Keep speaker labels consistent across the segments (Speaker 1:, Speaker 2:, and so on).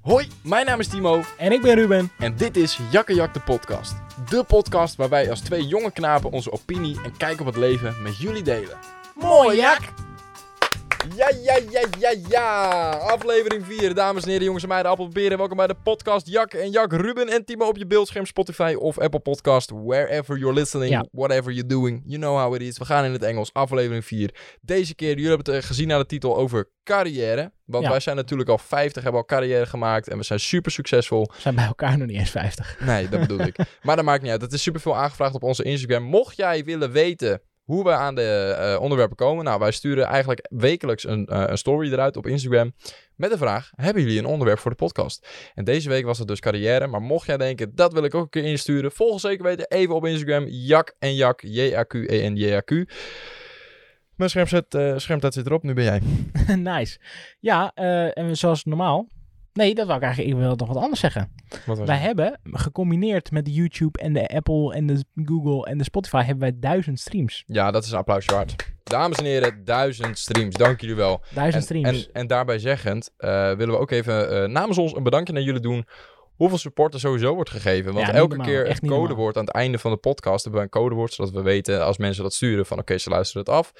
Speaker 1: Hoi, mijn naam is Timo
Speaker 2: En ik ben Ruben.
Speaker 1: en dit is Jakkejak de podcast. De podcast waar wij als twee jonge knapen onze opinie en kijk op het leven met jullie delen.
Speaker 2: Mooi, Jak.
Speaker 1: Ja, ja, ja, ja, ja. Aflevering 4, dames en heren, jongens en meiden, appelperen. Welkom bij de podcast Jak en Jak, Ruben en Timo op je beeldscherm, Spotify of Apple Podcast. Wherever you're listening,
Speaker 2: Ja.
Speaker 1: whatever you're doing, you know how it is. We gaan in het Engels, aflevering 4. Deze keer, jullie hebben het eh, gezien aan de titel over carrière. Want
Speaker 2: Ja.
Speaker 1: wij zijn natuurlijk al 50, hebben al carrière gemaakt en we zijn super succesvol.
Speaker 2: We zijn bij elkaar nog niet eens 50.
Speaker 1: Nee, dat bedoel ik. Maar dat maakt niet uit. Het is superveel aangevraagd op onze Instagram. Mocht jij willen weten hoe we aan de eh, onderwerpen komen. Nou, wij sturen eigenlijk wekelijks een, eh, een story eruit op Instagram. Met de vraag, hebben jullie een onderwerp voor de podcast? En deze week was het dus carrière. Maar mocht jij denken, dat wil ik ook een keer insturen. Volg ons zeker weten even op Instagram. Jak en Jak. E J-A-Q-E-N-J-A-Q. Mijn schermzet, eh, schermtijd zit erop. Nu ben jij.
Speaker 2: nice. Ja, eh, en zoals normaal. Nee, dat wil ik eigenlijk. Ik wil nog wat anders zeggen.
Speaker 1: Wat was
Speaker 2: Wij
Speaker 1: het?
Speaker 2: hebben gecombineerd met de YouTube en de Apple en de Google en de Spotify hebben wij duizend streams.
Speaker 1: Ja, dat is een applausje waard. Dames en heren, duizend streams. Dank jullie wel. En,
Speaker 2: Duizend streams.
Speaker 1: en, en daarbij zeggend, eh, willen we ook even eh, namens ons een bedankje naar jullie doen. Hoeveel support er sowieso wordt gegeven. Want
Speaker 2: Ja, niet
Speaker 1: elke
Speaker 2: normaal.
Speaker 1: keer
Speaker 2: Echt
Speaker 1: het
Speaker 2: niet normaal.
Speaker 1: codewoord aan het einde van de podcast hebben we een codewoord. Zodat we weten als mensen dat sturen van oké, ze luisteren het af.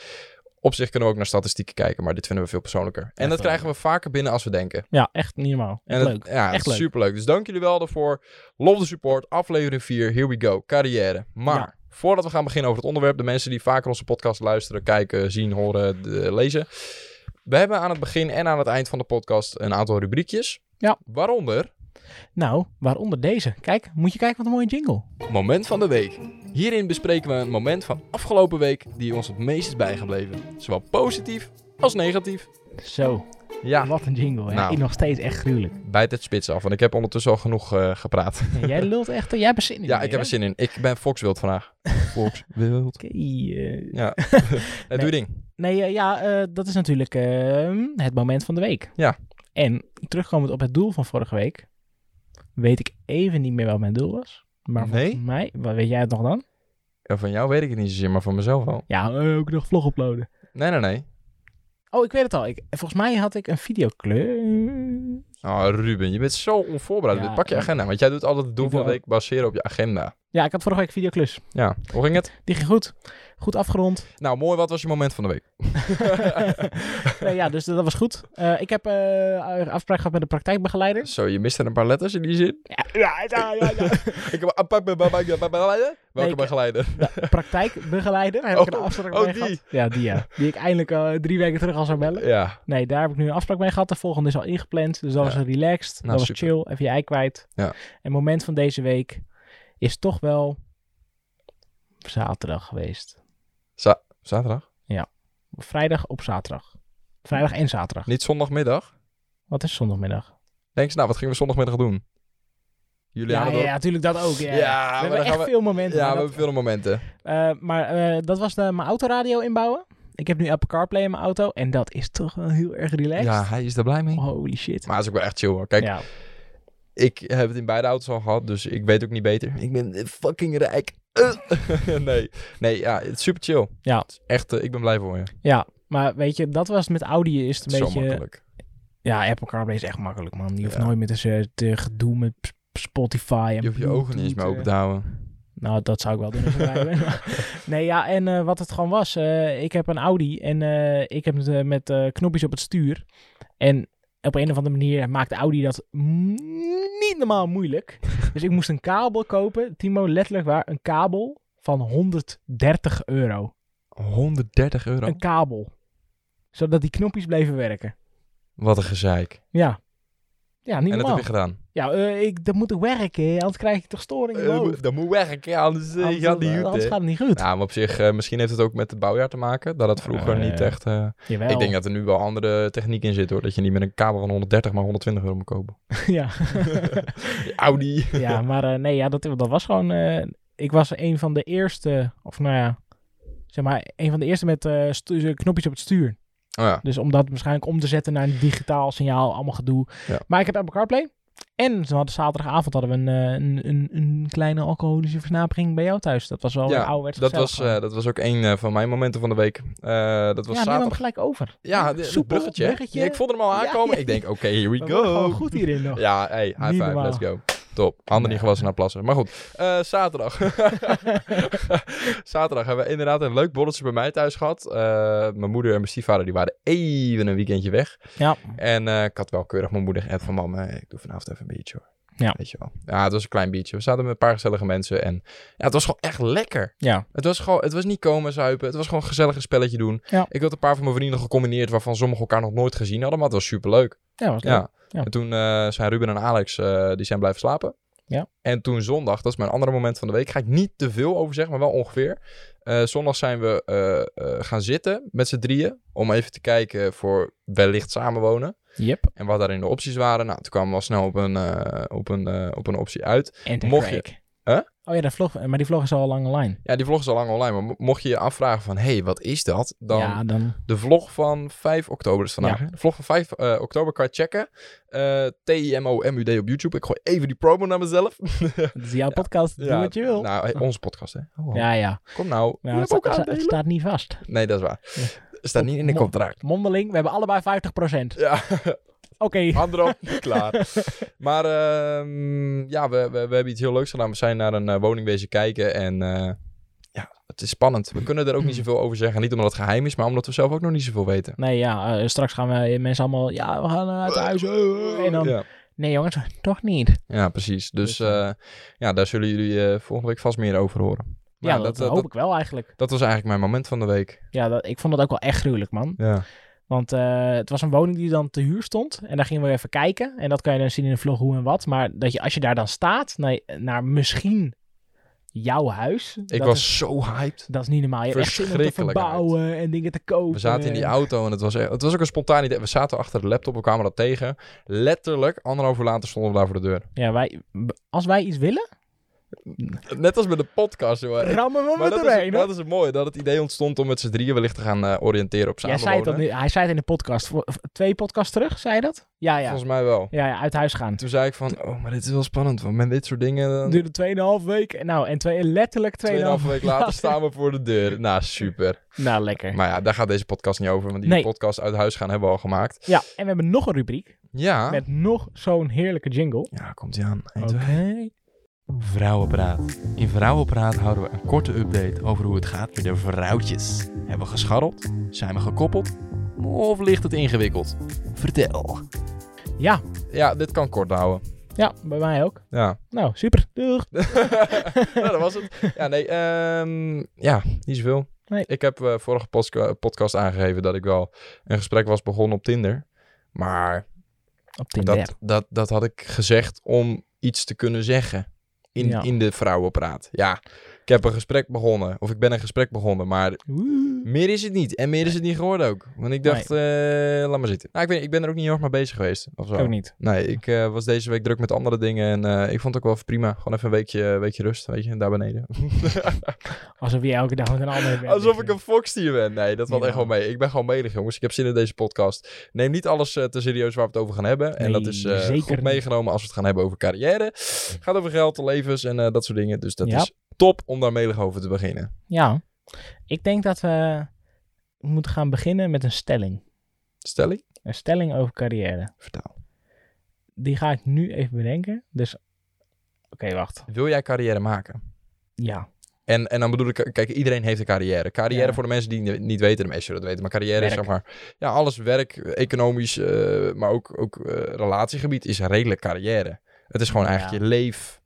Speaker 1: Op zich kunnen we ook naar statistieken kijken, maar dit vinden we veel persoonlijker. En
Speaker 2: Echt
Speaker 1: dat
Speaker 2: wel.
Speaker 1: krijgen we vaker binnen als we denken.
Speaker 2: Ja, echt niet normaal.
Speaker 1: En
Speaker 2: Echt
Speaker 1: dat-
Speaker 2: leuk.
Speaker 1: Ja,
Speaker 2: Echt
Speaker 1: dat is
Speaker 2: leuk.
Speaker 1: superleuk. Dus dank jullie wel daarvoor. Lof de support. Aflevering 4. Here we go. Carrière. Maar
Speaker 2: Ja.
Speaker 1: voordat we gaan beginnen over het onderwerp, de mensen die vaker onze podcast luisteren, kijken, zien, horen, de- lezen. We hebben aan het begin en aan het eind van de podcast een aantal rubriekjes.
Speaker 2: Ja.
Speaker 1: Waaronder
Speaker 2: Nou, waaronder deze. Kijk, moet je kijken wat een mooie jingle.
Speaker 1: Moment van de Week. Hierin bespreken we een moment van afgelopen week die ons het meest is bijgebleven. Zowel positief als negatief.
Speaker 2: Zo,
Speaker 1: Ja,
Speaker 2: wat een jingle. hè.
Speaker 1: Nou.
Speaker 2: Ik nog steeds echt gruwelijk.
Speaker 1: bijt het spits af, want ik heb ondertussen al genoeg eh, gepraat.
Speaker 2: Ja, jij lult echt. Jij hebt er zin in.
Speaker 1: Ja, ik heb er zin in. Ik ben Foxwild vandaag. Foxwild.
Speaker 2: Oké. eh,
Speaker 1: Ja,
Speaker 2: Nee.
Speaker 1: doe je ding.
Speaker 2: Nee, eh, ja, eh, dat is natuurlijk ehm, het moment van de week.
Speaker 1: Ja.
Speaker 2: En terugkomend op het doel van vorige week, weet ik even niet meer wat mijn doel was. Maar
Speaker 1: Nee?
Speaker 2: volgens mij, wat weet jij het nog dan?
Speaker 1: Ja, van jou weet ik het niet zozeer, maar van mezelf wel.
Speaker 2: Ja, eh, ook nog vlog uploaden.
Speaker 1: Nee, nee, nee.
Speaker 2: Oh, ik weet het al. Ik, volgens mij had ik een videoclip.
Speaker 1: Oh, Ruben, je bent zo onvoorbereid.
Speaker 2: Ja,
Speaker 1: Pak je
Speaker 2: ik-
Speaker 1: agenda, want jij doet altijd het doel
Speaker 2: ik
Speaker 1: van de
Speaker 2: wil-
Speaker 1: week baseren op je agenda.
Speaker 2: Ja, ik had vorige week videoclus.
Speaker 1: Ja, hoe ging het?
Speaker 2: Die ging goed. Goed afgerond.
Speaker 1: Nou, mooi, wat was je moment van de week?
Speaker 2: Nee, ja, dus dat was goed. Eh, ik heb eh afspraak gehad met de praktijkbegeleider.
Speaker 1: Zo, je miste een paar letters in die zin.
Speaker 2: Ja, ja, ja, ja, ja.
Speaker 1: Ik heb... Welke
Speaker 2: ik-
Speaker 1: begeleider?
Speaker 2: Ja, praktijkbegeleider. Daar heb ik een
Speaker 1: Oh,
Speaker 2: afspraak
Speaker 1: oh,
Speaker 2: mee
Speaker 1: die.
Speaker 2: gehad. Ja, die ja. Die ik eindelijk eh, drie weken terug al zou bellen.
Speaker 1: Ja,
Speaker 2: Nee, daar heb ik nu een afspraak mee gehad. De volgende is al ingepland. Dus dat
Speaker 1: Ja.
Speaker 2: was relaxed.
Speaker 1: Nou,
Speaker 2: dat was
Speaker 1: super.
Speaker 2: chill. Even je ei kwijt.
Speaker 1: Ja.
Speaker 2: En het moment van deze week is toch wel zaterdag geweest.
Speaker 1: zaterdag.
Speaker 2: Vrijdag op zaterdag. Vrijdag en zaterdag.
Speaker 1: Niet zondagmiddag.
Speaker 2: Wat is zondagmiddag?
Speaker 1: Denk eens, nou, wat gingen we zondagmiddag doen? Jullie
Speaker 2: Ja,
Speaker 1: hadden
Speaker 2: ja, natuurlijk dat ook. Ja,
Speaker 1: Ja,
Speaker 2: we
Speaker 1: maar
Speaker 2: hebben
Speaker 1: dan
Speaker 2: echt
Speaker 1: gaan we...
Speaker 2: veel momenten.
Speaker 1: Ja,
Speaker 2: maar
Speaker 1: we
Speaker 2: dat,
Speaker 1: hebben veel momenten.
Speaker 2: eh, maar eh, dat was de, mijn autoradio inbouwen. Ik heb nu Apple CarPlay in mijn auto. En dat is toch wel heel erg relaxed.
Speaker 1: Ja, hij is er blij mee.
Speaker 2: Holy shit.
Speaker 1: Maar het is ook wel echt chill hoor. Kijk,
Speaker 2: Oh. ja.
Speaker 1: Ik heb het in beide auto's al gehad, dus ik weet ook niet beter. Ik ben eh, fucking rijk. Eh. nee, nee, ja, het is super chill.
Speaker 2: Ja.
Speaker 1: Het is echt, eh, ik ben blij voor je.
Speaker 2: ja, maar weet je, dat was met Audi is het
Speaker 1: Zo
Speaker 2: een beetje...
Speaker 1: makkelijk.
Speaker 2: Ja, Apple CarPlay is echt makkelijk, man. Je hoeft
Speaker 1: Ja.
Speaker 2: nooit meer te, ze- te gedoe met sp- Spotify en
Speaker 1: Je hoeft je ogen niet eens meer
Speaker 2: Bluetooth,
Speaker 1: open te houden.
Speaker 2: eh. Nou, dat zou ik wel doen als ik erbij ben. Maar- Nee, ja, en eh, wat het gewoon was. eh, ik heb een Audi en eh, ik heb het eh, met eh, knopjes op het stuur. En op een of andere manier maakt Audi dat m- niet normaal moeilijk. dus ik moest een kabel kopen. Timo, letterlijk waar, een kabel van 130 euro.
Speaker 1: 130 euro.
Speaker 2: Een kabel. Zodat die knopjes bleven werken.
Speaker 1: Wat een gezeik.
Speaker 2: Ja. Ja, niet
Speaker 1: en dat
Speaker 2: normaal.
Speaker 1: heb je gedaan.
Speaker 2: Ja, eh, ik, dat moet ik werken, anders krijg ik toch storing in mijn hoofd.
Speaker 1: dat Eh, moet weg, ja, anders eh,
Speaker 2: Anders-
Speaker 1: gaat niet goed,
Speaker 2: Anders
Speaker 1: hè.
Speaker 2: gaat het niet goed.
Speaker 1: Nou, maar op zich, eh, misschien heeft het ook met het bouwjaar te maken. Dat het vroeger
Speaker 2: Eh,
Speaker 1: niet echt... eh,
Speaker 2: Jawel.
Speaker 1: ik denk dat er nu wel andere techniek in zit, hoor. Dat je niet met een kabel van 130, maar 120 euro moet kopen.
Speaker 2: ja.
Speaker 1: Audi. Oh
Speaker 2: ja, maar eh, nee, ja, dat, dat was gewoon... eh, ik was een van de eerste, of nou ja... Zeg maar, een van de eerste met eh, stu- knopjes op het stuur.
Speaker 1: Oh ja.
Speaker 2: Dus om dat waarschijnlijk om te zetten naar een digitaal signaal, allemaal gedoe.
Speaker 1: Ja.
Speaker 2: Maar ik heb Apple CarPlay. En ze hadden, zaterdagavond hadden we een, eh, een, een, een kleine alcoholische versnapering bij jou thuis. Dat was wel
Speaker 1: Ja,
Speaker 2: weer ouderwets
Speaker 1: Dat
Speaker 2: gezellig
Speaker 1: was,
Speaker 2: gewoon.
Speaker 1: eh, dat was ook een eh, van mijn momenten van de week. Eh, dat was
Speaker 2: ja, neem hem
Speaker 1: zaterdag.
Speaker 2: gelijk over.
Speaker 1: Ja, de- het
Speaker 2: Soepel,
Speaker 1: bruggetje. hè?
Speaker 2: bruggetje.
Speaker 1: Ja, ik vond hem al
Speaker 2: Ja,
Speaker 1: aankomen.
Speaker 2: ja.
Speaker 1: Ik denk, oké, here we
Speaker 2: We worden
Speaker 1: go.
Speaker 2: gewoon goed hierin nog.
Speaker 1: Ja, hey, high
Speaker 2: Niet
Speaker 1: five,
Speaker 2: normaal.
Speaker 1: let's go. Top. Handen niet
Speaker 2: Nee.
Speaker 1: gewassen naar plassen. Maar goed, eh, zaterdag. zaterdag hebben we inderdaad een leuk borreltje bij mij thuis gehad. Eh, mijn moeder en mijn stiefvader die waren even een weekendje weg.
Speaker 2: Ja.
Speaker 1: En eh, ik had wel keurig mijn moeder geappt van... Mam, eh, ik doe vanavond even een biertje hoor.
Speaker 2: Ja.
Speaker 1: Weet je wel. Ja, het was een klein biertje. We zaten met een paar gezellige mensen. En ja, het was gewoon echt lekker.
Speaker 2: Ja.
Speaker 1: Het was, gewoon, het was niet komen zuipen. Het was gewoon gezellig een spelletje doen.
Speaker 2: Ja.
Speaker 1: Ik had een paar van mijn vrienden gecombineerd... waarvan sommigen elkaar nog nooit gezien hadden. Maar het was superleuk.
Speaker 2: Ja, was leuk.
Speaker 1: Ja.
Speaker 2: Ja.
Speaker 1: En toen eh, zijn Ruben en Alex, eh, die zijn blijven slapen.
Speaker 2: Ja.
Speaker 1: En toen zondag, dat is mijn andere moment van de week, ga ik niet te veel over zeggen, maar wel ongeveer. Eh, zondag zijn we eh, eh, gaan zitten met z'n drieën om even te kijken voor wellicht samenwonen.
Speaker 2: Yep.
Speaker 1: En wat daarin de opties waren. Nou, toen kwamen we al snel op een, eh, op een, eh, op een optie uit.
Speaker 2: En de
Speaker 1: Mocht je-
Speaker 2: Drake.
Speaker 1: Huh?
Speaker 2: Oh ja, dat vlog, maar die vlog is al lang online.
Speaker 1: Ja, die vlog is al lang online, maar mo- mocht je je afvragen van, hé, hey, wat is dat? Dan
Speaker 2: Ja, dan...
Speaker 1: De vlog van 5 oktober is vandaag.
Speaker 2: Ja.
Speaker 1: hè? De vlog van 5 eh, oktober kan je checken. Eh T-I-M-O-M-U-D op YouTube. Ik gooi even die promo naar mezelf.
Speaker 2: Dat is jouw podcast. Doe wat je wil.
Speaker 1: Nou, hey, onze podcast, hè. Oh,
Speaker 2: ja, ja.
Speaker 1: Kom nou.
Speaker 2: Maar
Speaker 1: Je
Speaker 2: het,
Speaker 1: hebt ook
Speaker 2: sta- het sta- het
Speaker 1: aandelen.
Speaker 2: staat niet vast.
Speaker 1: Nee, dat is waar. Staat niet in de
Speaker 2: Mond-
Speaker 1: contract.
Speaker 2: Mondeling, we hebben allebei 50%.
Speaker 1: Ja,
Speaker 2: Oké.
Speaker 1: handen op, klaar. Maar ehm, ja, we, we, we hebben iets heel leuks gedaan. We zijn naar een eh, woningwezen kijken en eh, ja, het is spannend. We kunnen er ook niet
Speaker 2: Hmm.
Speaker 1: zoveel over zeggen. Niet omdat het geheim is, maar omdat we zelf ook nog niet zoveel weten.
Speaker 2: Nee, ja. eh, straks gaan we mensen allemaal... Ja, we gaan eh, uit huis. eh, En dan...
Speaker 1: Ja.
Speaker 2: Nee jongens, toch niet.
Speaker 1: Ja, precies. Dus,
Speaker 2: Dus, eh,
Speaker 1: eh, ja, daar zullen jullie eh, volgende week vast meer over horen. Maar
Speaker 2: ja, dat, eh,
Speaker 1: dat, eh,
Speaker 2: hoop
Speaker 1: dat,
Speaker 2: ik wel eigenlijk.
Speaker 1: dat was eigenlijk mijn moment van de week.
Speaker 2: Ja, dat, ik vond dat ook wel echt gruwelijk, man.
Speaker 1: Ja.
Speaker 2: Want eh, het was een woning die dan te huur stond. En daar gingen we even kijken. En dat kan je dan zien in de vlog hoe en wat. Maar dat je, als je daar dan staat, naar, naar misschien jouw huis.
Speaker 1: Ik
Speaker 2: dat
Speaker 1: was
Speaker 2: Is,
Speaker 1: zo hyped.
Speaker 2: dat is niet normaal. Je hebt echt zin om te
Speaker 1: verschrikkelijk
Speaker 2: verbouwen en dingen te kopen.
Speaker 1: We zaten in die auto en het was, echt- het was ook een spontaan idee. We zaten achter de laptop, we kwamen dat tegen. Letterlijk, anderhalf uur later stonden we daar voor de deur.
Speaker 2: Ja, wij, als wij iets willen,
Speaker 1: Net als met de podcast, joh. Ik-
Speaker 2: rammen we
Speaker 1: Eh, Maar
Speaker 2: hem
Speaker 1: dat is,
Speaker 2: erheen. hoor.
Speaker 1: dat is het mooie, dat het idee ontstond om met z'n drieën wellicht te gaan eh, oriënteren op
Speaker 2: Jij zei het
Speaker 1: samenwonen.
Speaker 2: al nu- hij zei het in de podcast. Vo- Twee podcasts terug, zei je dat? Ja, ja.
Speaker 1: Volgens mij wel.
Speaker 2: Ja, ja, uit huis gaan.
Speaker 1: Toen zei ik van, oh, maar dit is wel spannend, want met dit soort dingen... dan-
Speaker 2: Duurde 2,5 week. Nou, en twee, letterlijk 2,5
Speaker 1: Tweeënhalve week later staan we voor de deur. Nou, super.
Speaker 2: Nou, lekker.
Speaker 1: Maar ja, daar gaat deze podcast niet over, want die
Speaker 2: Nee.
Speaker 1: podcast uit huis gaan hebben we al gemaakt.
Speaker 2: Ja, en we hebben nog een rubriek.
Speaker 1: Ja.
Speaker 2: Met nog zo'n heerlijke jingle.
Speaker 1: Ja, komt ie aan.
Speaker 2: Oké.
Speaker 1: Vrouwenpraat. In Vrouwenpraat houden we een korte update over hoe het gaat met de vrouwtjes. Hebben we gescharreld? Zijn we gekoppeld? Of ligt het ingewikkeld? Vertel.
Speaker 2: Ja.
Speaker 1: Ja, dit kan kort houden.
Speaker 2: Ja, bij mij ook.
Speaker 1: Ja.
Speaker 2: Nou, super. Doeg.
Speaker 1: nou, dat was het. Ja, nee. ehm, ja, niet zoveel.
Speaker 2: Nee.
Speaker 1: Ik heb eh, vorige postka- podcast aangegeven dat ik wel een gesprek was begonnen op Tinder. Maar
Speaker 2: Op Tinder.
Speaker 1: Dat, dat, dat had ik gezegd om iets te kunnen zeggen in,
Speaker 2: Ja.
Speaker 1: in de vrouwenpraat. Ja, ik heb een gesprek begonnen, of ik ben een gesprek begonnen, maar
Speaker 2: Woe.
Speaker 1: meer is het niet. En meer is het niet geworden ook. Want ik dacht, eh, laat maar zitten. Nou, ik, weet, niet, ik ben er ook niet heel erg mee bezig geweest. Of zo.
Speaker 2: Ook niet.
Speaker 1: Nee, ik eh, was deze week druk met andere dingen en eh, ik vond het ook wel prima. Gewoon even een weekje, weekje rust, weet je, daar beneden.
Speaker 2: Alsof jij elke dag met een ander bent.
Speaker 1: Alsof ik een foxtier ben. Nee, dat valt
Speaker 2: Ja.
Speaker 1: echt wel mee. Ik ben gewoon medig, jongens. Ik heb zin in deze podcast. Neem niet alles eh, te serieus waar we het over gaan hebben. en
Speaker 2: Nee,
Speaker 1: dat is eh,
Speaker 2: zeker
Speaker 1: goed
Speaker 2: niet.
Speaker 1: meegenomen als we het gaan hebben over carrière. Het gaat over geld, levens en eh, dat soort dingen. Dus dat
Speaker 2: Ja.
Speaker 1: is top om daar medig over te beginnen.
Speaker 2: Ja. Ik denk dat we moeten gaan beginnen met een stelling.
Speaker 1: Stelling?
Speaker 2: Een stelling over carrière.
Speaker 1: Vertaal.
Speaker 2: Die ga ik nu even bedenken. Dus, oké, wacht.
Speaker 1: Wil jij carrière maken?
Speaker 2: Ja.
Speaker 1: En, en dan bedoel ik, kijk, iedereen heeft een carrière. Carrière
Speaker 2: Ja.
Speaker 1: voor de mensen die het niet weten, de meesten zullen het weten. Maar carrière is
Speaker 2: Werk.
Speaker 1: zeg maar, ja, alles werk, economisch, eh, maar ook, ook eh, relatiegebied is redelijk carrière. Het is gewoon eigenlijk
Speaker 2: Ja.
Speaker 1: je leef.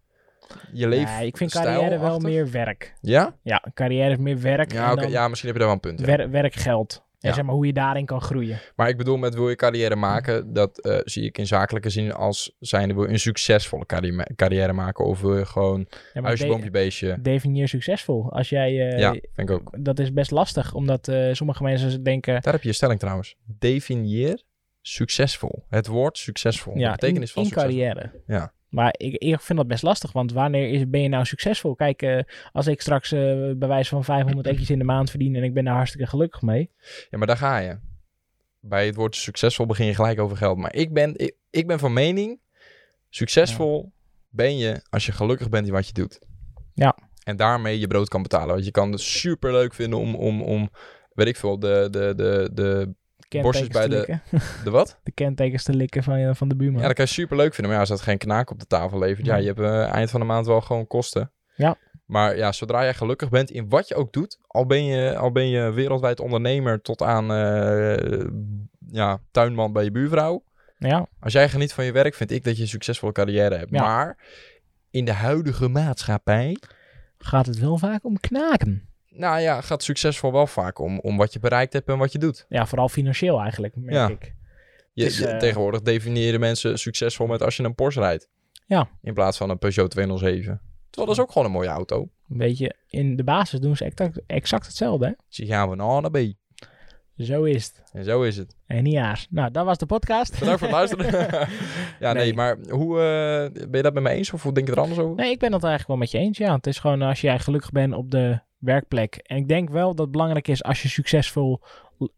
Speaker 1: Je leef.
Speaker 2: Nee, ik vind carrière wel meer werk.
Speaker 1: Ja?
Speaker 2: Ja, carrière is meer werk.
Speaker 1: Ja,
Speaker 2: en
Speaker 1: oké,
Speaker 2: dan
Speaker 1: ja, misschien heb je daar wel een punt. ja.
Speaker 2: wer- werkgeld. En
Speaker 1: Ja.
Speaker 2: zeg maar hoe je daarin kan groeien.
Speaker 1: Maar ik bedoel, met wil je carrière maken, dat eh, zie ik in zakelijke zin als zijnde wil je een succesvolle carri- carrière maken. Of wil je gewoon
Speaker 2: Ja, maar
Speaker 1: huisje,
Speaker 2: de-
Speaker 1: boompje, beestje.
Speaker 2: definieer succesvol. Als jij, eh,
Speaker 1: ja, denk ik ook.
Speaker 2: dat is best lastig, omdat eh, sommige mensen denken,
Speaker 1: Daar heb je je stelling trouwens. Definieer succesvol. Het woord succesvol.
Speaker 2: ja,
Speaker 1: de betekenis
Speaker 2: in,
Speaker 1: van
Speaker 2: in
Speaker 1: succesvol.
Speaker 2: carrière.
Speaker 1: Ja.
Speaker 2: Maar ik, ik vind dat best lastig, want wanneer is, ben je nou succesvol? Kijk, eh, als ik straks eh, bij wijze van 500 etjes in de maand verdien en ik ben daar hartstikke gelukkig mee.
Speaker 1: Ja, maar daar ga je. Bij het woord succesvol begin je gelijk over geld. Maar ik ben, ik, ik ben van mening, Succesvol ben je als je gelukkig bent in wat je doet.
Speaker 2: Ja.
Speaker 1: En daarmee je brood kan betalen. Want je kan het super leuk vinden om, om, om weet ik veel, de, de, de, de,
Speaker 2: Kentekens
Speaker 1: bij
Speaker 2: te
Speaker 1: de-
Speaker 2: likken.
Speaker 1: de wat?
Speaker 2: De kentekens te likken van, je- van de buurman.
Speaker 1: Ja, dat kan je super leuk vinden. Maar ja, als dat geen knaak op de tafel levert, ja,
Speaker 2: Nee.
Speaker 1: je hebt eh, eind van de maand wel gewoon kosten.
Speaker 2: Ja.
Speaker 1: Maar ja, zodra jij gelukkig bent in wat je ook doet, al ben je, al ben je wereldwijd ondernemer tot aan eh, ja, tuinman bij je buurvrouw.
Speaker 2: ja.
Speaker 1: Als jij geniet van je werk, vind ik dat je een succesvolle carrière hebt.
Speaker 2: Ja.
Speaker 1: Maar in de huidige maatschappij,
Speaker 2: Gaat het wel vaak om knaken.
Speaker 1: nou ja, gaat succesvol wel vaak om, om wat je bereikt hebt en wat je doet.
Speaker 2: Ja, vooral financieel eigenlijk, merk
Speaker 1: Ja.
Speaker 2: ik.
Speaker 1: Je,
Speaker 2: is,
Speaker 1: je-
Speaker 2: eh,
Speaker 1: Tegenwoordig definiëren mensen succesvol met als je een Porsche rijdt.
Speaker 2: Ja.
Speaker 1: In plaats van een Peugeot 207. Terwijl dat is ook gewoon een mooie auto.
Speaker 2: Weet je, in de basis doen ze exact, exact hetzelfde, hè?
Speaker 1: Dus je gaan van A naar B.
Speaker 2: Zo is het.
Speaker 1: En zo is het.
Speaker 2: En niet haar. Nou, dat was de podcast.
Speaker 1: Bedankt voor het luisteren. ja, nee.
Speaker 2: Nee.
Speaker 1: maar hoe eh, ben je dat met me eens of hoe denk je er anders over?
Speaker 2: Nee, ik ben dat eigenlijk wel met je eens. Ja, het is gewoon eh, als jij gelukkig bent op de werkplek. En ik denk wel dat het belangrijk is als je, succesvol,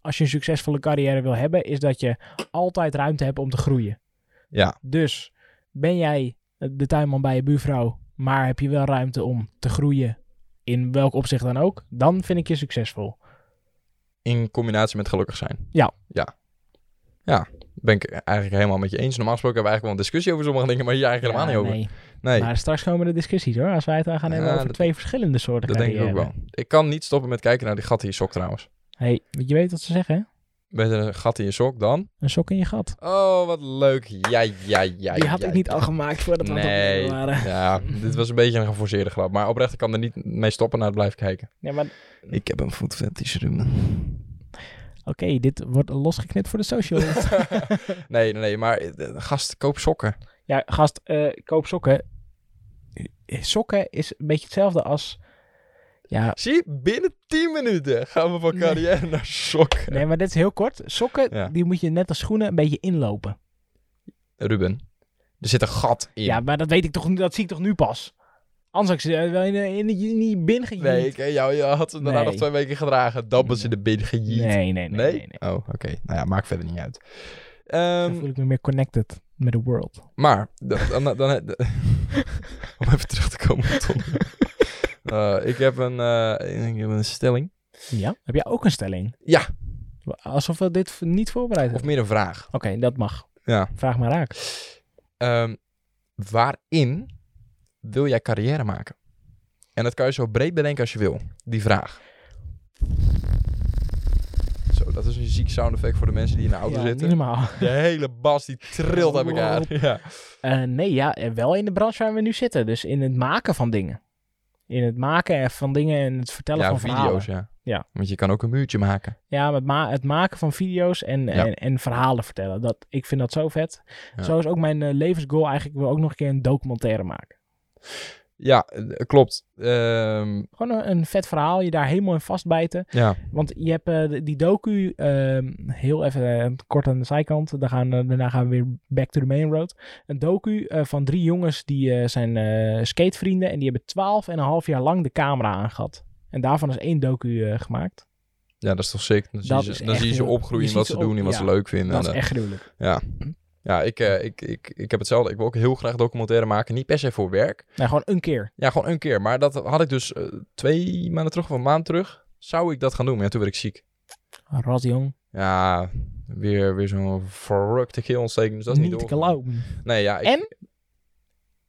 Speaker 2: als je een succesvolle carrière wil hebben, is dat je altijd ruimte hebt om te groeien.
Speaker 1: Ja.
Speaker 2: Dus ben jij eh, de tuinman bij je buurvrouw, maar heb je wel ruimte om te groeien in welk opzicht dan ook, dan vind ik je succesvol.
Speaker 1: In combinatie met gelukkig zijn.
Speaker 2: Ja.
Speaker 1: Ja. Ja, ben ik eigenlijk helemaal met je eens. Normaal gesproken hebben we eigenlijk wel een discussie over sommige dingen, maar hier eigenlijk
Speaker 2: Ja,
Speaker 1: helemaal niet over.
Speaker 2: nee.
Speaker 1: Nee,
Speaker 2: Maar straks komen de discussies hoor, als wij het dan gaan hebben
Speaker 1: Ja,
Speaker 2: over
Speaker 1: dat-
Speaker 2: twee verschillende soorten
Speaker 1: dat denk ik ook
Speaker 2: carrière.
Speaker 1: wel. Ik kan niet stoppen met kijken naar die gat in je sok trouwens.
Speaker 2: Hey, je weet wat ze zeggen, hè?
Speaker 1: Met een gat in je sok dan.
Speaker 2: Een sok in je gat.
Speaker 1: Oh, wat leuk. Ja, ja, ja.
Speaker 2: Die had
Speaker 1: ja,
Speaker 2: ik niet
Speaker 1: ja.
Speaker 2: al gemaakt voordat we aan het
Speaker 1: Nee.
Speaker 2: opnemen waren.
Speaker 1: Ja, dit was een beetje een geforceerde grap. Maar oprecht, ik kan er niet mee stoppen naar het blijven kijken.
Speaker 2: Nee, maar oké,
Speaker 1: Ik heb een voetfetish, Ruben.
Speaker 2: dit wordt losgeknipt voor de social.
Speaker 1: nee, nee, nee. Maar eh, gast, koop sokken.
Speaker 2: ja, gast, eh, koop sokken. Eh, Sokken is een beetje hetzelfde als... Ja,
Speaker 1: Zie, binnen 10 minuten gaan we van
Speaker 2: Nee.
Speaker 1: carrière naar sokken.
Speaker 2: nee, maar dit is heel kort. Sokken,
Speaker 1: Ja.
Speaker 2: die moet je net als schoenen een beetje inlopen.
Speaker 1: Ruben, er zit een gat in.
Speaker 2: Ja, maar dat weet ik toch niet, dat zie ik toch nu pas? Anders had ik ze eh, wel in, in, in die bin gejiet.
Speaker 1: Nee, ik, eh, jou, je had ze daarna
Speaker 2: Nee.
Speaker 1: nog twee weken gedragen. Dan was in de bin gejiet.
Speaker 2: nee, nee, nee, nee, nee, nee.
Speaker 1: Oh, oké. Nou ja, maakt verder niet uit.
Speaker 2: Dan
Speaker 1: Ehm,
Speaker 2: voel ik me meer connected met de world.
Speaker 1: maar, d- dan, dan, dan- om even terug te komen op het onderwerp. Eh, ik, heb een, eh, ik heb een stelling.
Speaker 2: Ja? Heb jij ook een stelling?
Speaker 1: Ja.
Speaker 2: Alsof we dit v- niet voorbereid
Speaker 1: Of
Speaker 2: hebben.
Speaker 1: meer een vraag.
Speaker 2: Oké, dat mag.
Speaker 1: Ja.
Speaker 2: Vraag maar raak.
Speaker 1: Ehm, waarin wil jij carrière maken? En dat kan je zo breed bedenken als je wil. Die vraag. Zo, dat is een ziek sound effect voor de mensen die in de auto
Speaker 2: Ja,
Speaker 1: zitten.
Speaker 2: Niet normaal.
Speaker 1: De hele bas die trilt aan elkaar. Ja.
Speaker 2: Eh, nee, ja, eh, wel in de branche waar we nu zitten. Dus in het maken van dingen. In het maken van dingen en het vertellen
Speaker 1: Ja,
Speaker 2: van
Speaker 1: video's,
Speaker 2: verhalen.
Speaker 1: ja.
Speaker 2: Ja.
Speaker 1: Want je kan ook een muurtje maken.
Speaker 2: Ja, het, ma- het maken van video's en, en, en verhalen vertellen. Dat, ik vind dat zo vet.
Speaker 1: Ja.
Speaker 2: Zo is ook mijn eh, levensgoal eigenlijk. Ik wil ook nog een keer een documentaire maken.
Speaker 1: Ja, eh, klopt. Ehm,
Speaker 2: Gewoon een, een vet verhaal, je daar helemaal in vastbijten.
Speaker 1: ja.
Speaker 2: Want je hebt eh, de- die docu, ehm, heel even eh, kort aan de zijkant, dan gaan, eh, daarna gaan we weer back to the main road. Een docu eh, van drie jongens die eh, zijn eh, skatevrienden en die hebben twaalf en een half jaar lang de camera aangehad. En daarvan is één docu eh, gemaakt.
Speaker 1: ja, dat is toch sick. Dan zie
Speaker 2: Dat
Speaker 1: je,
Speaker 2: is
Speaker 1: ze- dan
Speaker 2: echt
Speaker 1: zie je ze
Speaker 2: heel-
Speaker 1: opgroeien
Speaker 2: je
Speaker 1: in wat
Speaker 2: ziet
Speaker 1: ze
Speaker 2: ze
Speaker 1: doen
Speaker 2: op-
Speaker 1: en wat
Speaker 2: ja,
Speaker 1: ze leuk vinden.
Speaker 2: dat is
Speaker 1: En, eh,
Speaker 2: echt gruwelijk.
Speaker 1: Ja, ik, eh, ik, ik, ik heb hetzelfde. Ik wil ook heel graag documentaire maken. Niet per se voor werk.
Speaker 2: Nou, gewoon een keer.
Speaker 1: Ja, gewoon een keer. Maar dat had ik dus eh, twee maanden terug of een maand terug. Zou ik dat gaan doen? Maar ja, toen werd ik ziek.
Speaker 2: Rot jong.
Speaker 1: Ja, weer, weer zo'n verrukte keelontsteking. Dus dat is
Speaker 2: niet
Speaker 1: niet,
Speaker 2: te
Speaker 1: door.
Speaker 2: geloven.
Speaker 1: Nee, ja, ik,
Speaker 2: En?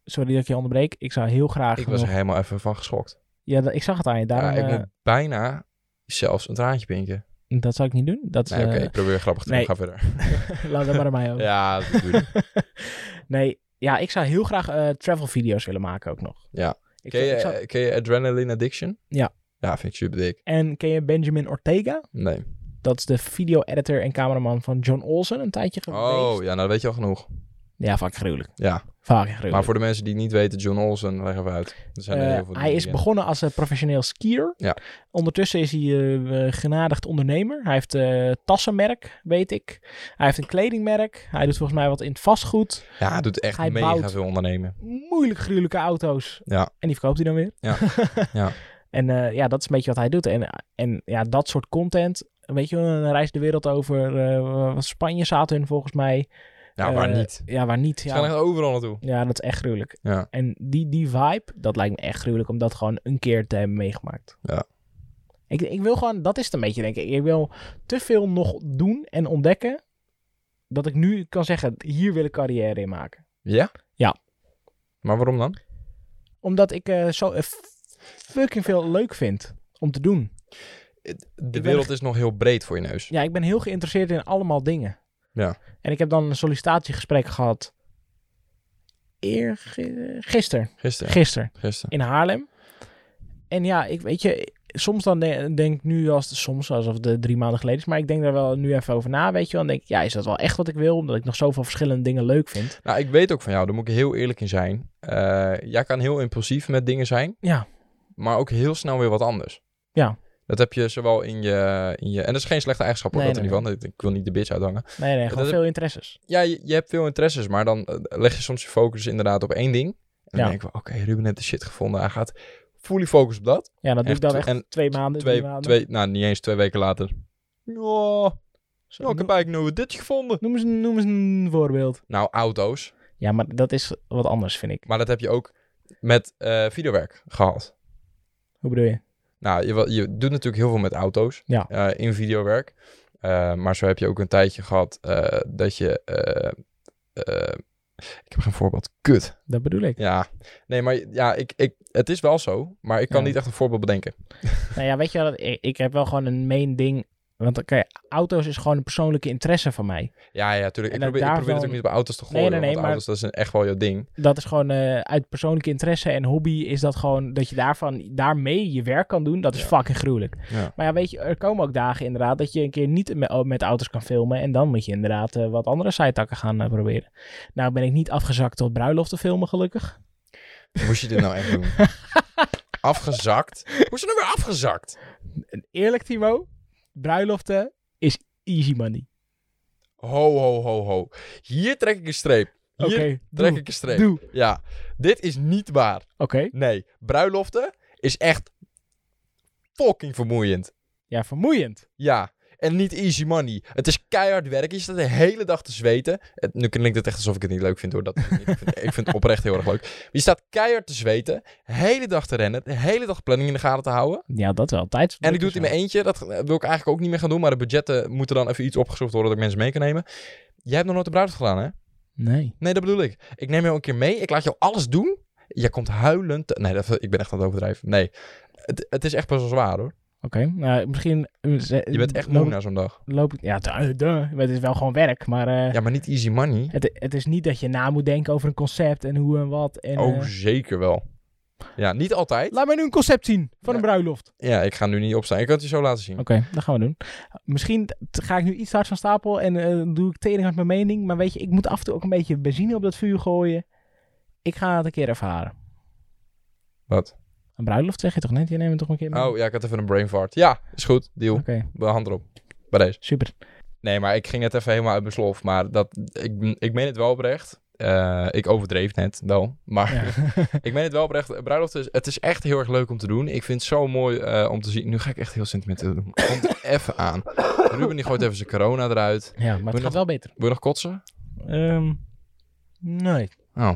Speaker 2: Sorry dat ik je onderbreek. Ik zou heel graag...
Speaker 1: ik was er
Speaker 2: nog-
Speaker 1: helemaal even van geschokt.
Speaker 2: Ja, dat- ik zag het aan je. Daarom,
Speaker 1: Ja, ik
Speaker 2: eh,
Speaker 1: moet bijna zelfs een traantje pinken.
Speaker 2: Dat zou ik niet doen. Dat is,
Speaker 1: Nee, oké,
Speaker 2: eh,
Speaker 1: ik probeer grappig te doen.
Speaker 2: nee. Oh.
Speaker 1: Ga verder.
Speaker 2: laat dat maar aan mij over.
Speaker 1: Ja, dat bedoel ik.
Speaker 2: nee, ja, ik zou heel graag eh, travel video's willen maken ook nog.
Speaker 1: Ja.
Speaker 2: Ik
Speaker 1: ken,
Speaker 2: zou- ik
Speaker 1: je,
Speaker 2: zou-
Speaker 1: eh, ken je Adrenaline Addiction?
Speaker 2: Ja.
Speaker 1: Ja, vind ik super dik.
Speaker 2: en ken je Benjamin Ortega?
Speaker 1: Nee.
Speaker 2: Dat is de video-editor en cameraman van John Olsen een tijdje geweest.
Speaker 1: Oh, ja, nou dat weet je al genoeg.
Speaker 2: Ja, vaak gruwelijk.
Speaker 1: Ja,
Speaker 2: Vaak gruwelijk.
Speaker 1: maar voor de mensen die het niet weten, John Olsen, leg even uit. Er zijn er
Speaker 2: Eh,
Speaker 1: heel veel die
Speaker 2: hij
Speaker 1: niet
Speaker 2: is
Speaker 1: kennen.
Speaker 2: begonnen als een professioneel skier.
Speaker 1: Ja.
Speaker 2: Ondertussen is hij eh, eh, genadigd ondernemer. Hij heeft eh tassenmerk, weet ik. Hij heeft een kledingmerk. Hij doet volgens mij wat in het vastgoed.
Speaker 1: Ja, hij doet echt
Speaker 2: Hij
Speaker 1: mega
Speaker 2: bouwt-
Speaker 1: veel ondernemen.
Speaker 2: Moeilijk gruwelijke auto's.
Speaker 1: Ja.
Speaker 2: En die verkoopt hij dan weer.
Speaker 1: Ja. Ja.
Speaker 2: En eh, ja, dat is een beetje wat hij doet. En, en ja, dat soort content. Weet je, een reis de wereld over. eh, Spanje zaten hun volgens mij.
Speaker 1: Ja, waar
Speaker 2: Eh,
Speaker 1: niet?
Speaker 2: Ja, waar niet.
Speaker 1: Ze gaan echt
Speaker 2: Ja,
Speaker 1: overal naartoe.
Speaker 2: ja dat is echt gruwelijk.
Speaker 1: Ja.
Speaker 2: En die, die vibe, dat lijkt me echt gruwelijk om dat gewoon een keer te hebben meegemaakt.
Speaker 1: Ja.
Speaker 2: Ik, ik wil gewoon, dat is het een beetje denk ik. Ik wil te veel nog doen en ontdekken. Dat ik nu kan zeggen, hier wil ik carrière in maken.
Speaker 1: Ja?
Speaker 2: Ja.
Speaker 1: Maar waarom dan?
Speaker 2: Omdat ik eh, zo eh, fucking veel leuk vind om te doen.
Speaker 1: De wereld is nog heel breed voor je neus.
Speaker 2: Ja, ik ben heel geïnteresseerd in allemaal dingen.
Speaker 1: Ja.
Speaker 2: En ik heb dan een sollicitatiegesprek gehad. Eer, gisteren.
Speaker 1: Gisteren.
Speaker 2: Gisteren.
Speaker 1: Gisteren.
Speaker 2: in Haarlem. En ja, ik weet je, soms dan de- denk ik nu als soms alsof het drie maanden geleden is, maar ik denk daar wel nu even over na, weet je wel. Dan denk ik, ja, is dat wel echt wat ik wil? Omdat ik nog zoveel verschillende dingen leuk vind.
Speaker 1: Nou, ik weet ook van jou, daar moet ik heel eerlijk in zijn. Eh, jij kan heel impulsief met dingen zijn.
Speaker 2: Ja.
Speaker 1: Maar ook heel snel weer wat anders.
Speaker 2: Ja.
Speaker 1: Dat heb je zowel in je... In je en dat is geen slechte eigenschap, hoor,
Speaker 2: Nee,
Speaker 1: dat
Speaker 2: nee,
Speaker 1: er niet van. Ik wil niet de bitch uithangen.
Speaker 2: Nee, nee, gewoon
Speaker 1: dat-
Speaker 2: veel interesses.
Speaker 1: Ja, je, je hebt veel interesses, maar dan eh, leg je soms je focus inderdaad op één ding. En dan
Speaker 2: Ja.
Speaker 1: denk ik, oké, Ruben heeft de shit gevonden. Hij gaat fully focus op dat.
Speaker 2: Ja, dat doe ik
Speaker 1: Echt,
Speaker 2: dan echt
Speaker 1: en
Speaker 2: twee maanden,
Speaker 1: Twee,
Speaker 2: drie maanden.
Speaker 1: twee, nou, niet eens twee weken later. Oh,
Speaker 2: Zo,
Speaker 1: nou, ik heb
Speaker 2: noem,
Speaker 1: eigenlijk nu dit gevonden.
Speaker 2: noem, eens, een- noem eens een voorbeeld.
Speaker 1: Nou, auto's.
Speaker 2: Ja, maar dat is wat anders, vind ik.
Speaker 1: Maar dat heb je ook met eh, videowerk gehad.
Speaker 2: Hoe bedoel je?
Speaker 1: Nou, je, wa- je doet natuurlijk heel veel met auto's
Speaker 2: Ja.
Speaker 1: eh, in videowerk. Eh, maar zo heb je ook een tijdje gehad eh, dat je... eh, eh, ik heb geen voorbeeld. Kut.
Speaker 2: Dat bedoel ik.
Speaker 1: Ja, nee, maar ja, ik, ik, het is wel zo, maar ik kan
Speaker 2: Ja.
Speaker 1: niet echt een voorbeeld bedenken.
Speaker 2: Nou ja, weet je wel, dat- ik, ik heb wel gewoon een main ding. Want oké, auto's is gewoon een persoonlijke interesse van mij.
Speaker 1: Ja, ja, tuurlijk. Ik
Speaker 2: En dat
Speaker 1: probeer, ik
Speaker 2: daar
Speaker 1: probeer
Speaker 2: wel-
Speaker 1: natuurlijk niet bij auto's te gooien,
Speaker 2: nee, nee,
Speaker 1: want
Speaker 2: maar-
Speaker 1: auto's, dat is een- echt wel jouw ding.
Speaker 2: dat is gewoon eh, uit persoonlijke interesse en hobby is dat gewoon dat je daarvan daarmee je werk kan doen. Dat is
Speaker 1: Ja.
Speaker 2: fucking gruwelijk.
Speaker 1: Ja.
Speaker 2: Maar ja, weet je, er komen ook dagen inderdaad dat je een keer niet met, met auto's kan filmen en dan moet je inderdaad eh, wat andere zijtakken gaan eh, proberen. Nou ben ik niet afgezakt tot bruiloften filmen gelukkig.
Speaker 1: Moest je dit nou echt doen? afgezakt? Hoe is het nou weer afgezakt?
Speaker 2: Eerlijk Timo, bruiloften is easy money.
Speaker 1: Ho, ho, ho, ho. Hier trek ik een streep. Hier
Speaker 2: Oké,
Speaker 1: trek
Speaker 2: doe.
Speaker 1: ik een streep.
Speaker 2: doe. Oké,
Speaker 1: Ja, dit is niet waar. Nee, bruiloften is echt fucking vermoeiend.
Speaker 2: ja vermoeiend.
Speaker 1: Ja, en niet easy money. Het is keihard werk. Je staat de hele dag te zweten. Het, nu klinkt het echt alsof ik het niet leuk vind hoor. Dat, ik, vind, ik vind het oprecht heel erg leuk. Maar je staat keihard te zweten. Hele dag te rennen. De hele dag planning in de gaten te houden.
Speaker 2: Ja, dat wel. Tijd.
Speaker 1: En ik doe het in mijn eentje. Dat eh, wil ik eigenlijk ook niet meer gaan doen. Maar de budgetten moeten dan even iets opgezocht worden. Dat ik mensen mee kan nemen. Jij hebt nog nooit de bruiloft gedaan hè?
Speaker 2: Nee.
Speaker 1: Nee, dat bedoel ik. Ik neem jou een keer mee. Ik laat jou alles doen. Jij komt huilend. te- Nee, dat, ik ben echt aan het overdrijven. Nee. Het, het is echt best wel zwaar hoor.
Speaker 2: Oké, nou misschien...
Speaker 1: Je bent echt moe na zo'n dag.
Speaker 2: loop ik... Ja, duh, duh. het is wel gewoon werk, maar... eh,
Speaker 1: Ja, maar niet easy money.
Speaker 2: Het, het is niet dat je na moet denken over een concept en hoe en wat. En,
Speaker 1: oh,
Speaker 2: eh,
Speaker 1: zeker wel. Ja, niet altijd.
Speaker 2: laat mij nu een concept zien van
Speaker 1: Ja.
Speaker 2: een bruiloft.
Speaker 1: Ja, ik ga nu niet opstaan. Ik kan het je zo laten zien.
Speaker 2: Oké, dat gaan we doen. Misschien t- ga ik nu iets te hard van stapel en eh, doe ik tering uit mijn mening. Maar weet je, ik moet af en toe ook een beetje benzine op dat vuur gooien. Ik ga het een keer ervaren.
Speaker 1: Wat?
Speaker 2: Een bruiloft zeg je toch net? Je neemt het toch een keer mee?
Speaker 1: Oh, ja, ik had even een brain fart. Ja, is goed. Deal.
Speaker 2: Oké,
Speaker 1: De hand erop. Bij deze.
Speaker 2: super.
Speaker 1: Nee, maar ik ging het even helemaal uit mijn slof. Maar dat, ik, ik meen het wel oprecht. Eh, ik overdreef net wel. Maar
Speaker 2: Ja.
Speaker 1: ik meen het wel oprecht. Bruiloft is, het is echt heel erg leuk om te doen. Ik vind het zo mooi eh, om te zien. Nu ga ik echt heel sentimenteel doen. Komt er even aan. Ruben die gooit even zijn corona eruit.
Speaker 2: ja, maar het gaat
Speaker 1: nog-
Speaker 2: wel beter.
Speaker 1: Wil je nog kotsen?
Speaker 2: Ehm, nee.
Speaker 1: Oh.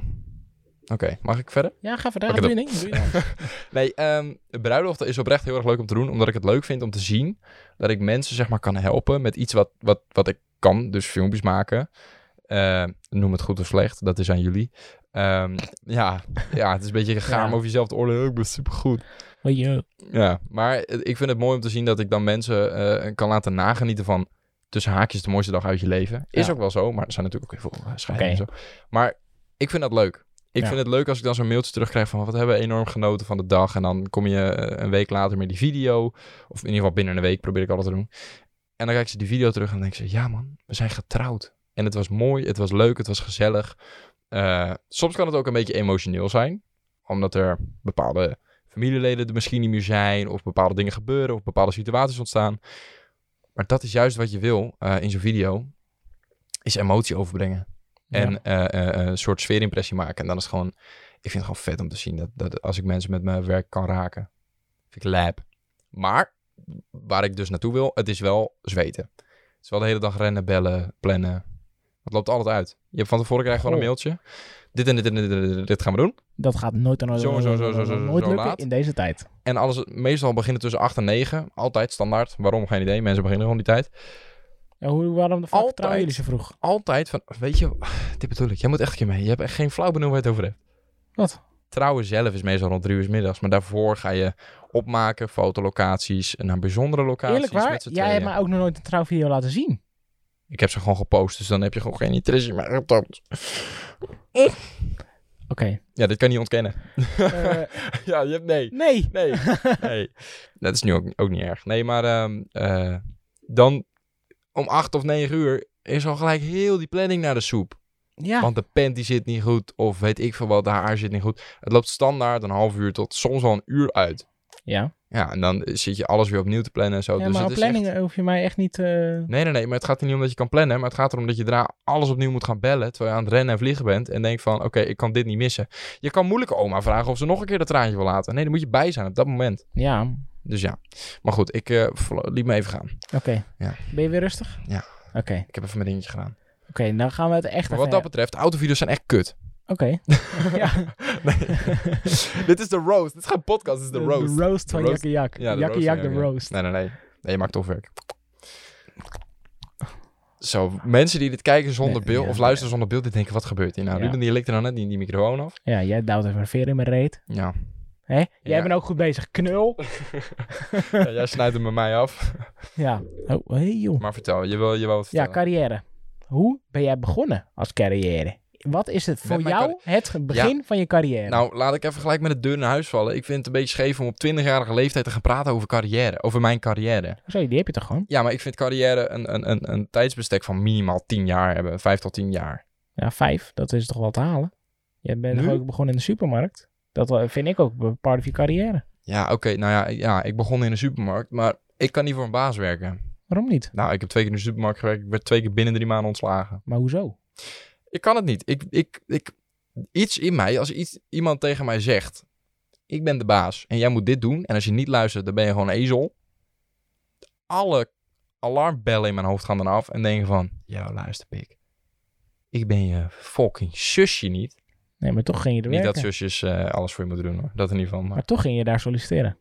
Speaker 1: Oké, mag ik verder?
Speaker 2: Ja, ga verder.
Speaker 1: Oké,
Speaker 2: doe je ding. Doe je nou? ding.
Speaker 1: Nee, ehm bruiloften is oprecht heel erg leuk om te doen. Omdat ik het leuk vind om te zien dat ik mensen zeg maar kan helpen met iets wat, wat, wat ik kan. Dus filmpjes maken. Eh, noem het goed of slecht, dat is aan jullie. Ehm, ja, ja, het is een beetje gegaan
Speaker 2: Ja.
Speaker 1: over jezelf te oordelen. Oh, Ik ben supergoed.
Speaker 2: Hoi, joh.
Speaker 1: Ja, maar eh, ik vind het mooi om te zien dat ik dan mensen eh, kan laten nagenieten van tussen haakjes de mooiste dag uit je leven. Is
Speaker 2: Ja.
Speaker 1: ook wel zo, maar er zijn natuurlijk ook heel veel eh, scheidingen
Speaker 2: Oké.
Speaker 1: en zo. Maar ik vind dat leuk. Ik
Speaker 2: Ja.
Speaker 1: vind het leuk als ik dan zo'n mailtje terugkrijg van wat hebben we enorm genoten van de dag. En dan kom je eh, een week later met die video. Of in ieder geval binnen een week probeer ik altijd te doen. En dan kijk ze die video terug en dan denk ze, ja man, we zijn getrouwd. En het was mooi, het was leuk, het was gezellig. Eh, soms kan het ook een beetje emotioneel zijn. Omdat er bepaalde familieleden er misschien niet meer zijn. Of bepaalde dingen gebeuren. Of bepaalde situaties ontstaan. Maar dat is juist wat je wil eh, in zo'n video. Is emotie overbrengen. En
Speaker 2: Ja.
Speaker 1: eh, eh, eh, een soort sfeerimpressie maken. En dan is het gewoon... Ik vind het gewoon vet om te zien. Dat, dat als ik mensen met mijn werk kan raken. Vind ik lijp. Maar waar ik dus naartoe wil. Het is wel zweten. Het is wel de hele dag rennen, bellen, plannen. Dat loopt altijd uit. Je hebt van tevoren krijg je gewoon een mailtje. Dit en dit en dit, en dit, en dit gaan we doen.
Speaker 2: Dat gaat nooit en nooit,
Speaker 1: Zo, zo, zo, zo, zo,
Speaker 2: nooit
Speaker 1: zo
Speaker 2: lukken
Speaker 1: laat.
Speaker 2: in deze tijd.
Speaker 1: En alles, meestal beginnen tussen 8 en 9. Altijd standaard. Waarom? Geen idee. Mensen beginnen gewoon die tijd.
Speaker 2: Ja, hoe, waarom de fuck
Speaker 1: Altijd.
Speaker 2: trouwen jullie zo vroeg?
Speaker 1: Altijd van, weet je, dit bedoel ik. Jij moet echt een keer mee. Je hebt echt geen flauw benul waar je het over hebt.
Speaker 2: Wat?
Speaker 1: Trouwen zelf is meestal rond drie uur 's middags. Maar daarvoor ga je opmaken, fotolocaties en naar bijzondere locaties
Speaker 2: Eerlijk waar,
Speaker 1: met z'n
Speaker 2: jij hebt
Speaker 1: tweeën.
Speaker 2: mij ook nog nooit een trouwvideo laten zien.
Speaker 1: Ik heb ze gewoon gepost, dus dan heb je gewoon geen interesse meer. op dat.
Speaker 2: Oké.
Speaker 1: Ja, dit kan je niet ontkennen.
Speaker 2: Eh,
Speaker 1: ja, je hebt nee.
Speaker 2: nee.
Speaker 1: Nee, nee. Dat is nu ook, ook niet erg. Nee, maar ehm, eh, dan om acht of negen uur is al gelijk heel die planning naar de soep.
Speaker 2: Ja.
Speaker 1: Want de pen die zit niet goed, of weet ik veel wat, de haar zit niet goed. Het loopt standaard een half uur tot soms wel een uur uit.
Speaker 2: ja.
Speaker 1: Ja, en dan zit je alles weer opnieuw te plannen en zo.
Speaker 2: ja,
Speaker 1: Oh, dus
Speaker 2: maar
Speaker 1: het
Speaker 2: op
Speaker 1: is echt-
Speaker 2: planningen hoef je mij echt niet... eh,
Speaker 1: Nee, nee, nee, maar het gaat er niet om dat je kan plannen, maar het gaat erom dat je daarna alles opnieuw moet gaan bellen, terwijl je aan het rennen en vliegen bent en denkt van, oké, ik kan dit niet missen. Je kan moeilijk oma vragen of ze nog een keer dat traantje wil laten. Nee, dan moet je bij zijn op dat moment.
Speaker 2: Ja,
Speaker 1: Dus ja, maar goed, ik eh, vlo- liet me even gaan.
Speaker 2: oké.
Speaker 1: Ja.
Speaker 2: Ben je weer rustig?
Speaker 1: Ja.
Speaker 2: Oké,
Speaker 1: Ik heb even mijn dingetje gedaan.
Speaker 2: oké. Dan gaan we het echt...
Speaker 1: Maar
Speaker 2: even-
Speaker 1: wat dat betreft, autovideo's zijn echt kut.
Speaker 2: Oké. ja.
Speaker 1: dit is de roast. Dit is geen podcast, dit is de roast.
Speaker 2: De roast van
Speaker 1: roast.
Speaker 2: Jakkie Jak.
Speaker 1: Ja, de
Speaker 2: Jakkie
Speaker 1: roast,
Speaker 2: Jak,
Speaker 1: ja,
Speaker 2: de
Speaker 1: ja.
Speaker 2: roast.
Speaker 1: Nee, nee, nee. Nee, je maakt toch werk. Zo, mensen die dit kijken zonder
Speaker 2: Nee,
Speaker 1: beeld,
Speaker 2: ja,
Speaker 1: of
Speaker 2: nee.
Speaker 1: luisteren zonder beeld, die denken, wat gebeurt hier nou?
Speaker 2: Ja.
Speaker 1: Ruben, die likt er dan net die, die microfoon af.
Speaker 2: Ja, jij duwt even een veer in mijn reet.
Speaker 1: Ja.
Speaker 2: Hè? Jij
Speaker 1: Ja.
Speaker 2: bent ook goed bezig. Knul.
Speaker 1: Ja, jij snijdt hem bij mij af.
Speaker 2: Ja. Oh, hey joh.
Speaker 1: Maar vertel, je wil, je wil wat
Speaker 2: Ja,
Speaker 1: vertellen.
Speaker 2: carrière. Hoe ben jij begonnen als carrière? Wat is het voor
Speaker 1: mijn
Speaker 2: jou het begin van je carrière?
Speaker 1: Nou, laat ik even gelijk met de deur naar huis vallen. Ik vind het een beetje scheef om op 20-jarige leeftijd te gaan praten over carrière. Over mijn carrière.
Speaker 2: Zo, die heb je toch gewoon?
Speaker 1: Ja, maar ik vind carrière een, een, een, een tijdsbestek van minimaal 10 jaar hebben. 5 tot 10 jaar.
Speaker 2: Ja, vijf. Dat is toch wel te halen? Je bent
Speaker 1: Nu?
Speaker 2: toch ook begonnen in de supermarkt? Dat eh, vind ik ook een part of je carrière.
Speaker 1: Ja, oké. nou ja, ja, ik begon in de supermarkt, maar ik kan niet voor een baas werken.
Speaker 2: Waarom niet?
Speaker 1: Nou, ik heb twee keer in de supermarkt gewerkt. Ik werd twee keer binnen drie maanden ontslagen.
Speaker 2: Maar hoezo?
Speaker 1: Ik kan het niet. Ik, ik, ik, iets in mij, als iets, iemand tegen mij zegt... Ik ben de baas en jij moet dit doen. En als je niet luistert, dan ben je gewoon een ezel. Alle alarmbellen in mijn hoofd gaan dan af en denken van... Yo, luister, pik. Ik ben je fucking zusje niet.
Speaker 2: Nee, maar toch ging je er
Speaker 1: Niet
Speaker 2: werken.
Speaker 1: dat zusjes eh, alles voor je moeten doen hoor. Dat in ieder geval. Maar...
Speaker 2: Maar toch ging je daar solliciteren.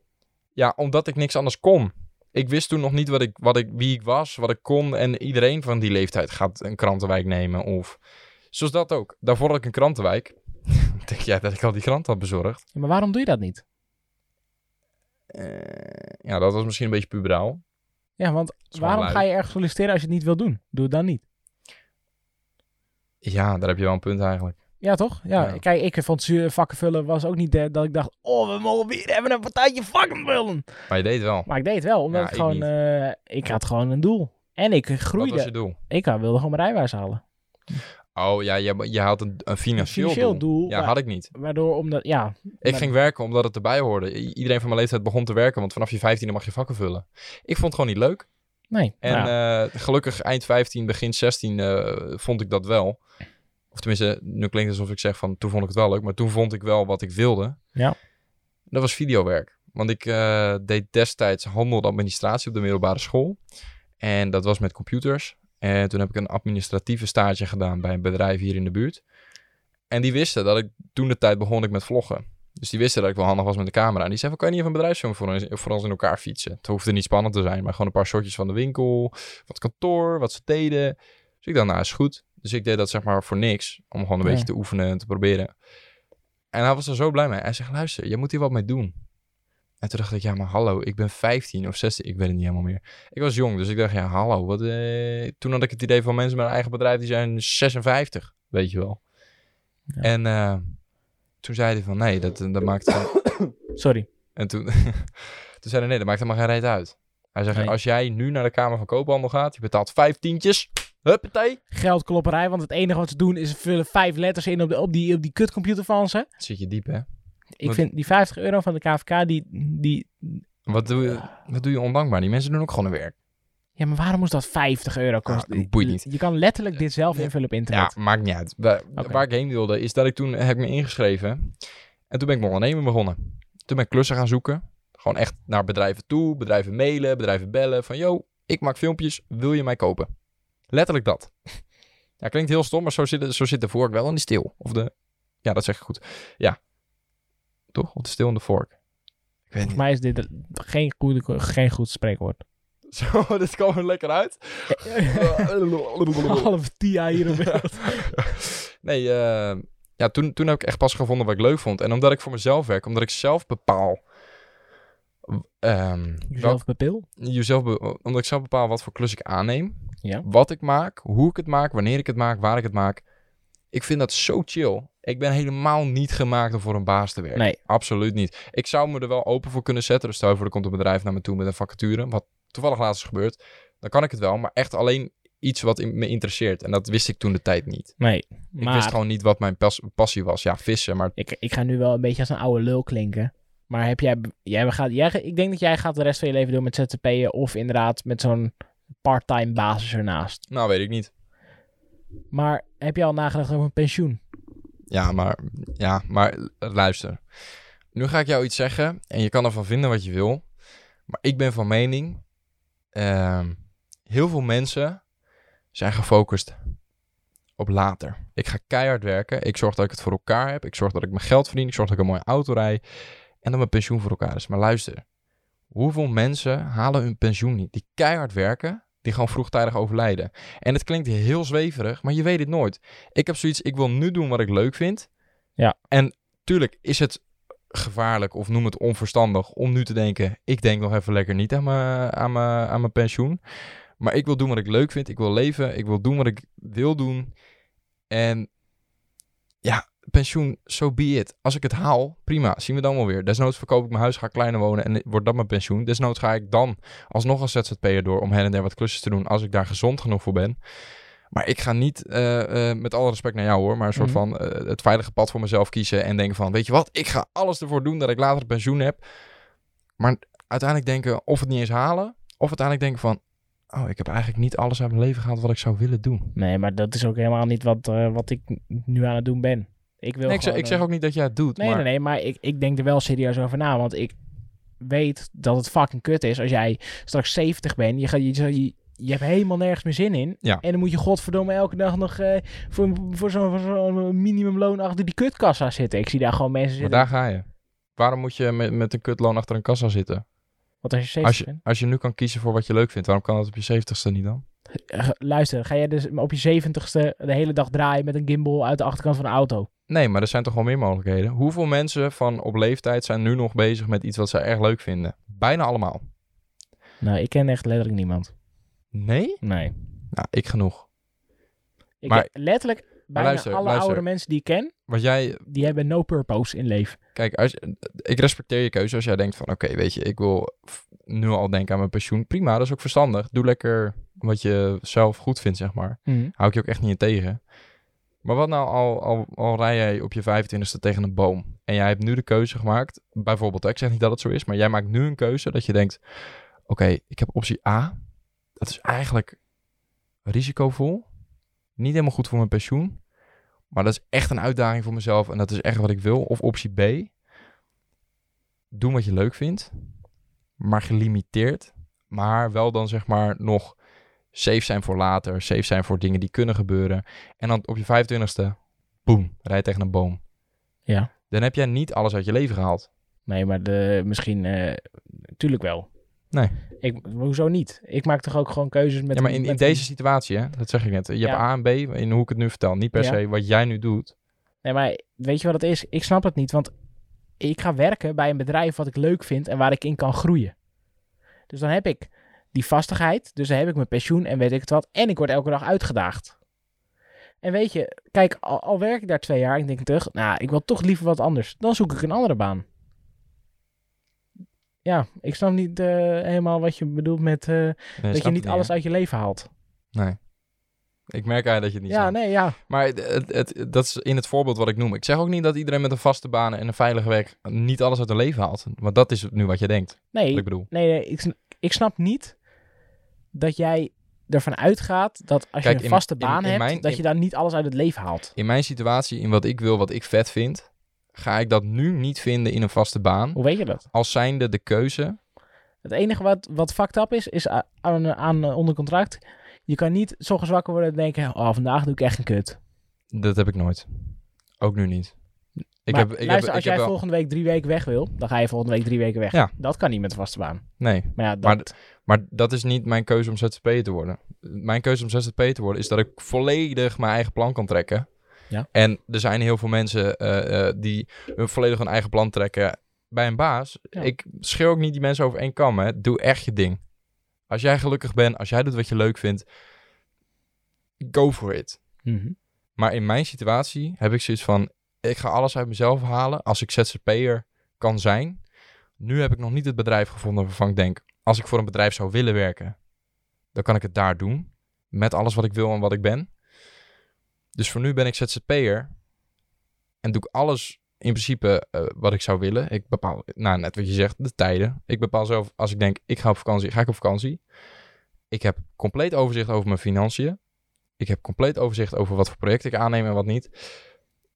Speaker 1: Ja, omdat ik niks anders kon. Ik wist toen nog niet wat ik, wat ik, wie ik was, wat ik kon. En iedereen van die leeftijd gaat een krantenwijk nemen. Of zoals dat ook. Daarvoor had ik een krantenwijk. Denk jij dat ik al die krant had bezorgd?
Speaker 2: Ja, maar waarom doe je dat niet?
Speaker 1: Eh, ja, dat was misschien een beetje puberaal.
Speaker 2: Ja, want
Speaker 1: gewoon
Speaker 2: waarom
Speaker 1: lui.
Speaker 2: ga je ergens solliciteren als je het niet wil doen? Doe het dan niet.
Speaker 1: Ja, daar heb je wel een punt eigenlijk.
Speaker 2: Ja, toch? Ja.
Speaker 1: Ja.
Speaker 2: Kijk, ik vond zuur- vakken vullen was ook niet eh, dat ik dacht... Oh, we mogen weer even een partijtje vakken vullen.
Speaker 1: Maar je deed het wel.
Speaker 2: Maar ik deed het wel, omdat
Speaker 1: Ja,
Speaker 2: ik
Speaker 1: ik
Speaker 2: gewoon...
Speaker 1: niet.
Speaker 2: eh, ik had gewoon een doel. En ik
Speaker 1: Dat was
Speaker 2: groeide.
Speaker 1: je doel.
Speaker 2: Ik had- wilde gewoon mijn rijwijs halen.
Speaker 1: Oh ja, je, je had een, een financieel,
Speaker 2: Financieel doel,
Speaker 1: Ja,
Speaker 2: maar-
Speaker 1: had ik niet.
Speaker 2: Waardoor, omdat... Ja,
Speaker 1: Ik
Speaker 2: Maar-
Speaker 1: ging werken omdat het erbij hoorde. I- Iedereen van mijn leeftijd begon te werken, want vanaf je 15 mag je vakken vullen. Ik vond het gewoon niet leuk.
Speaker 2: nee.
Speaker 1: En
Speaker 2: nou,
Speaker 1: eh, gelukkig eind 15, begin 16 eh, vond ik dat wel. Of tenminste, nu klinkt het alsof ik zeg van toen vond ik het wel leuk, maar toen vond ik wel wat ik wilde.
Speaker 2: Ja.
Speaker 1: Dat was videowerk. Want ik eh, deed destijds handel en administratie op de middelbare school. En dat was met computers. En toen heb ik een administratieve stage gedaan bij een bedrijf hier in de buurt. En die wisten dat ik toen de tijd begon ik met vloggen. Dus die wisten dat ik wel handig was met de camera. En die zeiden van, kan je niet even een bedrijfsfilm voor ons, voor ons in elkaar fietsen? Het hoefde niet spannend te zijn, maar gewoon een paar shotjes van de winkel, van het kantoor, wat ze deden. Dus ik dacht, nou is goed. Dus ik deed dat zeg maar voor niks, om gewoon een
Speaker 2: Ja.
Speaker 1: beetje te oefenen en te proberen. En hij was er zo blij mee. Hij zegt, luister, je moet hier wat mee doen. En toen dacht ik, ja maar hallo, ik ben 15 of 16, ik weet het niet helemaal meer. Ik was jong, dus ik dacht, ja hallo, wat... eh, Toen had ik het idee van mensen met een eigen bedrijf, die zijn 56, weet je wel.
Speaker 2: Ja.
Speaker 1: En... eh, toen zei hij van nee, dat, eh, dat maakt. geen-
Speaker 2: sorry.
Speaker 1: En toen, toen zei hij nee, dat maakt helemaal geen reet uit. Hij zegt:
Speaker 2: Nee.
Speaker 1: Als jij nu naar de Kamer van Koophandel gaat, je betaalt vijf tientjes. Huppatee.
Speaker 2: Geldklopperij, want het enige wat ze doen is ze vullen vijf letters in op, de, op, die, op die kutcomputer van ze.
Speaker 1: Zit je diep, hè?
Speaker 2: Ik
Speaker 1: Wat-
Speaker 2: vind die 50 euro van de KVK, die, die...
Speaker 1: Wat doe je, wat doe je ondankbaar? Die mensen doen ook gewoon hun werk.
Speaker 2: Ja, maar waarom moest dat 50 euro kosten?
Speaker 1: Ah, dat boeit niet.
Speaker 2: Je kan letterlijk dit zelf invullen op internet.
Speaker 1: Ja, maakt niet uit. Waar,
Speaker 2: Oké.
Speaker 1: waar ik heen wilde, is dat ik toen heb ik me ingeschreven. En toen ben ik mijn onderneming begonnen. Toen ben ik klussen gaan zoeken. Gewoon echt naar bedrijven toe, bedrijven mailen, bedrijven bellen. Van yo, ik maak filmpjes, wil je mij kopen? Letterlijk dat. Ja, klinkt heel stom, maar zo zit, zo zit de vork wel in de steel. Of de... Ja, dat zeg ik goed. Ja. Toch? Of de steel en de vork. Ik weet
Speaker 2: Volgens mij is dit eh, geen, goede, geen goed spreekwoord.
Speaker 1: Zo, dit kwam er lekker uit.
Speaker 2: Half TIA hier op beeld.
Speaker 1: nee, eh, ja, toen, toen heb ik echt pas gevonden wat ik leuk vond. En omdat ik voor mezelf werk, omdat ik zelf bepaal... ehm, welk-
Speaker 2: Jezelf bepil.
Speaker 1: jezelf be- omdat ik zelf bepaal wat voor klus ik aanneem.
Speaker 2: Ja.
Speaker 1: Wat ik maak, hoe ik het maak, wanneer ik het maak, waar ik het maak. Ik vind dat zo chill. Ik ben helemaal niet gemaakt om voor een baas te werken.
Speaker 2: Nee.
Speaker 1: Absoluut niet. Ik zou me er wel open voor kunnen zetten. Dus stel je voor, er komt een bedrijf naar me toe met een vacature. Wat toevallig laatst is gebeurd. Dan kan ik het wel. Maar echt alleen iets wat in- me interesseert. En dat wist ik toen de tijd niet.
Speaker 2: Nee.
Speaker 1: Ik wist
Speaker 2: Maar
Speaker 1: gewoon niet wat mijn pas- passie was. Ja, vissen. Maar
Speaker 2: ik, ik ga nu wel een beetje als een oude lul klinken. Maar heb jij, jij, gaat, jij, ik denk dat jij gaat de rest van je leven doen met ZZP'en of inderdaad met zo'n part-time basis ernaast.
Speaker 1: nou, weet ik niet.
Speaker 2: Maar heb je al nagedacht over een pensioen?
Speaker 1: Ja, maar, ja, maar l- luister. Nu ga ik jou iets zeggen en je kan ervan vinden wat je wil. Maar ik ben van mening, ehm, heel veel mensen zijn gefocust op later. Ik ga keihard werken. Ik zorg dat ik het voor elkaar heb. Ik zorg dat ik mijn geld verdien. Ik zorg dat ik een mooie auto rijd. En dat mijn pensioen voor elkaar is. Maar luister, hoeveel mensen halen hun pensioen niet? Die keihard werken, die gewoon vroegtijdig overlijden. En het klinkt heel zweverig, maar je weet het nooit. Ik heb zoiets, ik wil nu doen wat ik leuk vind.
Speaker 2: Ja.
Speaker 1: En tuurlijk is het gevaarlijk of noem het onverstandig om nu te denken... ik denk nog even lekker niet aan mijn, aan mijn, aan mijn pensioen. Maar ik wil doen wat ik leuk vind. Ik wil leven. Ik wil doen wat ik wil doen. En ja, pensioen, so be it. Als ik het haal, prima. Zien we dan wel weer. Desnoods verkoop ik mijn huis, ga ik kleiner wonen en wordt dat mijn pensioen. Desnoods ga ik dan alsnog als ZZP'er door om her en der wat klusjes te doen... als ik daar gezond genoeg voor ben. Maar ik ga niet, eh, eh, met alle respect naar jou hoor, maar een soort
Speaker 2: Mhm.
Speaker 1: van eh, het veilige pad voor mezelf kiezen en denken van, weet je wat, ik ga alles ervoor doen dat ik later een pensioen heb. Maar uiteindelijk denken of het niet eens halen, of uiteindelijk denken van, oh, ik heb eigenlijk niet alles uit mijn leven gehaald wat ik zou willen doen.
Speaker 2: Nee, maar dat is ook helemaal niet wat, eh, wat ik nu aan het doen ben. Ik wil
Speaker 1: Nee, ik, zeg,
Speaker 2: gewoon,
Speaker 1: ik
Speaker 2: eh,
Speaker 1: zeg ook niet dat jij het doet,
Speaker 2: Nee,
Speaker 1: maar
Speaker 2: nee, nee, maar ik, ik denk er wel serieus over na. Want ik weet dat het fucking kut is als jij straks 70 bent. Je, gaat, je, je, je hebt helemaal nergens meer zin in.
Speaker 1: Ja.
Speaker 2: En dan moet je godverdomme elke dag nog eh, voor, voor zo'n voor zo'n minimumloon achter die kutkassa zitten. Ik zie daar gewoon mensen
Speaker 1: maar
Speaker 2: zitten.
Speaker 1: daar ga je. Waarom moet je met, met een kutloon achter een kassa zitten?
Speaker 2: Want als je 70
Speaker 1: Als je,
Speaker 2: bent.
Speaker 1: als je nu kan kiezen voor wat je leuk vindt, waarom kan dat op je zeventigste niet dan?
Speaker 2: Eh, Luister, ga jij dus op je 70ste de hele dag draaien met een gimbal uit de achterkant van een auto?
Speaker 1: Nee, maar er zijn toch wel meer mogelijkheden. Hoeveel mensen van op leeftijd zijn nu nog bezig met iets wat zij erg leuk vinden? Bijna allemaal.
Speaker 2: Nou, ik ken echt letterlijk niemand.
Speaker 1: Nee?
Speaker 2: Nee.
Speaker 1: Nou, ik genoeg.
Speaker 2: Ik
Speaker 1: Maar-
Speaker 2: letterlijk bijna
Speaker 1: luister,
Speaker 2: alle
Speaker 1: luister.
Speaker 2: oudere mensen die ik ken,
Speaker 1: Want jij,
Speaker 2: die hebben no purpose in leven.
Speaker 1: kijk, als, ik respecteer je keuze als jij denkt van, oké, weet je, ik wil f- nu al denken aan mijn pensioen. Prima, dat is ook verstandig. Doe lekker wat je zelf goed vindt, zeg maar. hou ik je ook echt niet in tegen. Maar wat nou al, al, al rij jij op je 25ste tegen een boom en jij hebt nu de keuze gemaakt, bijvoorbeeld, hè, ik zeg niet dat het zo is, maar jij maakt nu een keuze dat je denkt, oké, ik heb optie A, dat is eigenlijk risicovol, niet helemaal goed voor mijn pensioen, maar dat is echt een uitdaging voor mezelf en dat is echt wat ik wil. Of optie B, doen wat je leuk vindt, maar gelimiteerd, maar wel dan zeg maar nog safe zijn voor later, safe zijn voor dingen die kunnen gebeuren. En dan op je 25ste, boem, rijd tegen een boom.
Speaker 2: Ja.
Speaker 1: Dan heb jij niet alles uit je leven gehaald.
Speaker 2: Nee, maar de, misschien... eh tuurlijk wel.
Speaker 1: Nee.
Speaker 2: Ik, hoezo niet? Ik maak toch ook gewoon keuzes met...
Speaker 1: ja, maar in, in
Speaker 2: met-
Speaker 1: deze situatie, hè, dat zeg ik net. Je
Speaker 2: Ja.
Speaker 1: hebt A en B, in hoe ik het nu vertel. Niet per
Speaker 2: Ja.
Speaker 1: se wat jij nu doet.
Speaker 2: Nee, maar weet je wat het is? Ik snap het niet, want ik ga werken bij een bedrijf wat ik leuk vind en waar ik in kan groeien. Dus dan heb ik die vastigheid, dus dan heb ik mijn pensioen en weet ik het wat. En ik word elke dag uitgedaagd. En weet je, kijk, al, al werk ik daar twee jaar en ik denk terug, nou, ik wil toch liever wat anders. Dan zoek ik een andere baan. Ja, ik snap niet eh, helemaal wat je bedoelt met eh,
Speaker 1: Nee,
Speaker 2: dat je
Speaker 1: snap
Speaker 2: niet
Speaker 1: het
Speaker 2: alles
Speaker 1: hè?
Speaker 2: uit je leven haalt.
Speaker 1: Ik merk eigenlijk dat je het niet
Speaker 2: Ja,
Speaker 1: snapt.
Speaker 2: nee, ja.
Speaker 1: Maar het, het, het- dat is in het voorbeeld wat ik noem. Ik zeg ook niet dat iedereen met een vaste baan en een veilige werk niet alles uit hun leven haalt. Want dat is nu wat je denkt.
Speaker 2: Nee,
Speaker 1: Wat ik bedoel.
Speaker 2: Nee, nee ik, sn- ik snap niet dat jij ervan uitgaat dat als
Speaker 1: Kijk,
Speaker 2: je
Speaker 1: in-
Speaker 2: een vaste
Speaker 1: in-
Speaker 2: baan
Speaker 1: in
Speaker 2: hebt,
Speaker 1: mijn-
Speaker 2: dat
Speaker 1: in-
Speaker 2: je daar niet alles uit het leven haalt.
Speaker 1: In mijn situatie, in wat ik wil, wat ik vet vind, ga ik dat nu niet vinden in een vaste baan.
Speaker 2: Hoe weet je dat?
Speaker 1: als zijnde de keuze.
Speaker 2: Het enige wat, wat fucked up is, is a- aan, aan eh, onder contract. Je kan niet zo wakker worden en denken, oh, vandaag doe ik echt een kut.
Speaker 1: Dat heb ik nooit. Ook nu niet. Ik
Speaker 2: maar
Speaker 1: heb, ik
Speaker 2: luister,
Speaker 1: heb,
Speaker 2: als
Speaker 1: ik heb
Speaker 2: jij
Speaker 1: wel-
Speaker 2: volgende week drie weken weg wil, dan ga je volgende week drie weken weg.
Speaker 1: Ja.
Speaker 2: Dat kan niet met vaste baan.
Speaker 1: Nee,
Speaker 2: Maar ja, dat...
Speaker 1: Maar Maar dat is niet mijn keuze om ZZP te worden. Mijn keuze om ZZP te worden is dat ik volledig mijn eigen plan kan trekken.
Speaker 2: Ja.
Speaker 1: En er zijn heel veel mensen eh, eh, die hun volledig hun eigen plan trekken bij een baas.
Speaker 2: Ja.
Speaker 1: Ik schreeuw ook niet die mensen over één kam. Hè. Doe echt je ding. Als jij gelukkig bent, als jij doet wat je leuk vindt, go for it.
Speaker 2: Mhm.
Speaker 1: Maar in mijn situatie heb ik zoiets van: ik ga alles uit mezelf halen als ik ZZP'er kan zijn. Nu heb ik nog niet het bedrijf gevonden waarvan ik denk: als ik voor een bedrijf zou willen werken, dan kan ik het daar doen. Met alles wat ik wil en wat ik ben. Dus voor nu ben ik ZZP'er en doe ik alles in principe eh, wat ik zou willen. Ik bepaal, nou net wat je zegt, de tijden. Ik bepaal zelf als ik denk: ik ga op vakantie, ga ik op vakantie. Ik heb compleet overzicht over mijn financiën. Ik heb compleet overzicht over wat voor projecten ik aanneem en wat niet.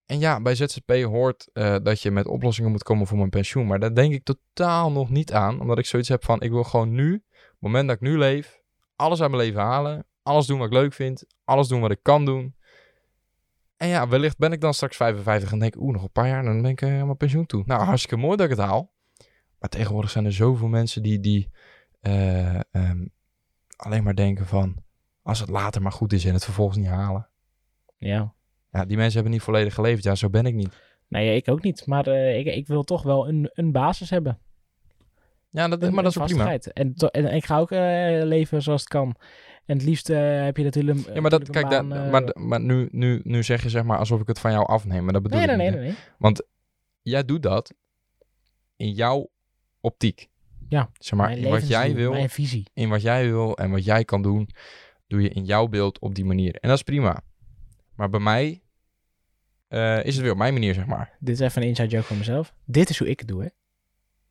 Speaker 1: En ja, bij ZZP hoort eh, dat je met oplossingen moet komen voor mijn pensioen. Maar daar denk ik totaal nog niet aan. Omdat ik zoiets heb van, ik wil gewoon nu, het moment dat ik nu leef, alles uit mijn leven halen. Alles doen wat ik leuk vind. Alles doen wat ik kan doen. En ja, wellicht ben ik dan straks 55 en denk, oeh, nog een paar jaar, dan ben ik eh, aan mijn pensioen toe. Nou, hartstikke mooi dat ik het haal. Maar tegenwoordig zijn er zoveel mensen die, die eh, ehm, alleen maar denken van, als het later maar goed is en het vervolgens niet halen.
Speaker 2: Ja.
Speaker 1: Ja, die mensen hebben niet volledig geleefd. Ja, zo ben ik niet.
Speaker 2: Nee, ik ook niet. Maar eh, ik, ik wil toch wel een, een basis hebben.
Speaker 1: Ja, dat,
Speaker 2: Een-
Speaker 1: maar dat is
Speaker 2: een
Speaker 1: wel prima.
Speaker 2: vastigheid. En, to- en ik ga ook eh, leven zoals het kan. En het liefst eh, heb je natuurlijk...
Speaker 1: Ja, maar, dat, kijk,
Speaker 2: natuurlijk
Speaker 1: daar-
Speaker 2: een baan, eh,
Speaker 1: maar, maar nu, nu, nu zeg je zeg maar alsof ik het van jou afneem. Maar dat bedoel
Speaker 2: Nee,
Speaker 1: ik
Speaker 2: nee,
Speaker 1: niet,
Speaker 2: nee,
Speaker 1: hè.
Speaker 2: nee. nee.
Speaker 1: Jij doet dat in jouw optiek.
Speaker 2: Ja,
Speaker 1: Zeg maar,
Speaker 2: Mijn
Speaker 1: in wat jij
Speaker 2: levensdoel,
Speaker 1: wil,
Speaker 2: Mijn visie.
Speaker 1: in wat jij wil en wat jij kan doen, doe je in jouw beeld op die manier. En dat is prima. Maar bij mij eh, is het weer op mijn manier, zeg maar.
Speaker 2: Dit is even een inside joke van mezelf. Dit is hoe ik het doe, hè.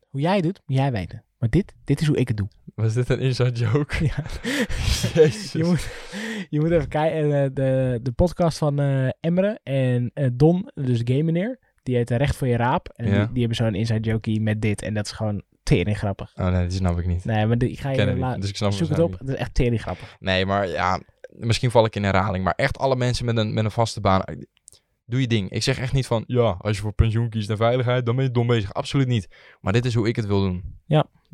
Speaker 2: Hoe jij het doet, moet jij weten. Maar dit, dit is hoe ik het doe.
Speaker 1: Was dit een inside joke?
Speaker 2: Ja.
Speaker 1: Jezus.
Speaker 2: Je moet, je moet even kijken. eh, de, de podcast van eh Emre en eh, Don, dus Game Meneer, die heet eh, Recht voor je Raap. En
Speaker 1: Ja.
Speaker 2: die, die hebben zo'n inside jokie met dit. En dat is gewoon tering grappig.
Speaker 1: Oh nee, die snap ik niet.
Speaker 2: Nee, maar die, ik ga
Speaker 1: Ik
Speaker 2: je
Speaker 1: ken hem
Speaker 2: la-
Speaker 1: niet, dus ik snap hem
Speaker 2: zoek het
Speaker 1: waarschijnlijk
Speaker 2: op. Het is echt tering grappig.
Speaker 1: Nee, maar ja, misschien val ik in herhaling. Maar echt alle mensen met een, met een vaste baan. eh, Doe je ding. Ik zeg echt niet van, ja, als je voor pensioen kiest en veiligheid, dan ben je dom bezig. Absoluut niet. Maar dit is hoe ik het wil doen.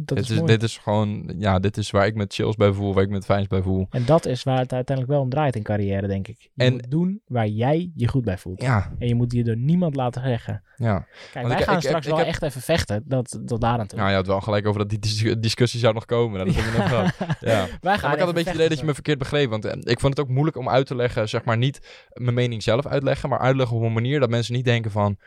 Speaker 2: Dat
Speaker 1: dit,
Speaker 2: is,
Speaker 1: is
Speaker 2: mooi.
Speaker 1: dit is gewoon, ja, dit is waar ik met chills bij voel, waar ik met fijns bij voel.
Speaker 2: En dat is waar het uiteindelijk wel om draait in carrière, denk ik. Je
Speaker 1: En-
Speaker 2: moet doen waar jij je goed bij voelt.
Speaker 1: Ja,
Speaker 2: En je moet je door niemand laten zeggen.
Speaker 1: ja.
Speaker 2: Kijk,
Speaker 1: Want
Speaker 2: wij
Speaker 1: ik-
Speaker 2: gaan
Speaker 1: ik-
Speaker 2: straks
Speaker 1: ik
Speaker 2: wel
Speaker 1: heb-
Speaker 2: echt even vechten. Dat, dat daar aan toe.
Speaker 1: Nou, je had wel gelijk over dat die dis- discussie zou nog komen. Nou, Dat hebben we nog gehad. Ja.
Speaker 2: Wij
Speaker 1: Ja,
Speaker 2: gaan
Speaker 1: maar ik had een
Speaker 2: even
Speaker 1: beetje het
Speaker 2: vechten
Speaker 1: idee dat je
Speaker 2: zo.
Speaker 1: me verkeerd begreep. Want eh, ik vond het ook moeilijk om uit te leggen, zeg maar niet mijn mening zelf uitleggen, maar uitleggen op een manier dat mensen niet denken van,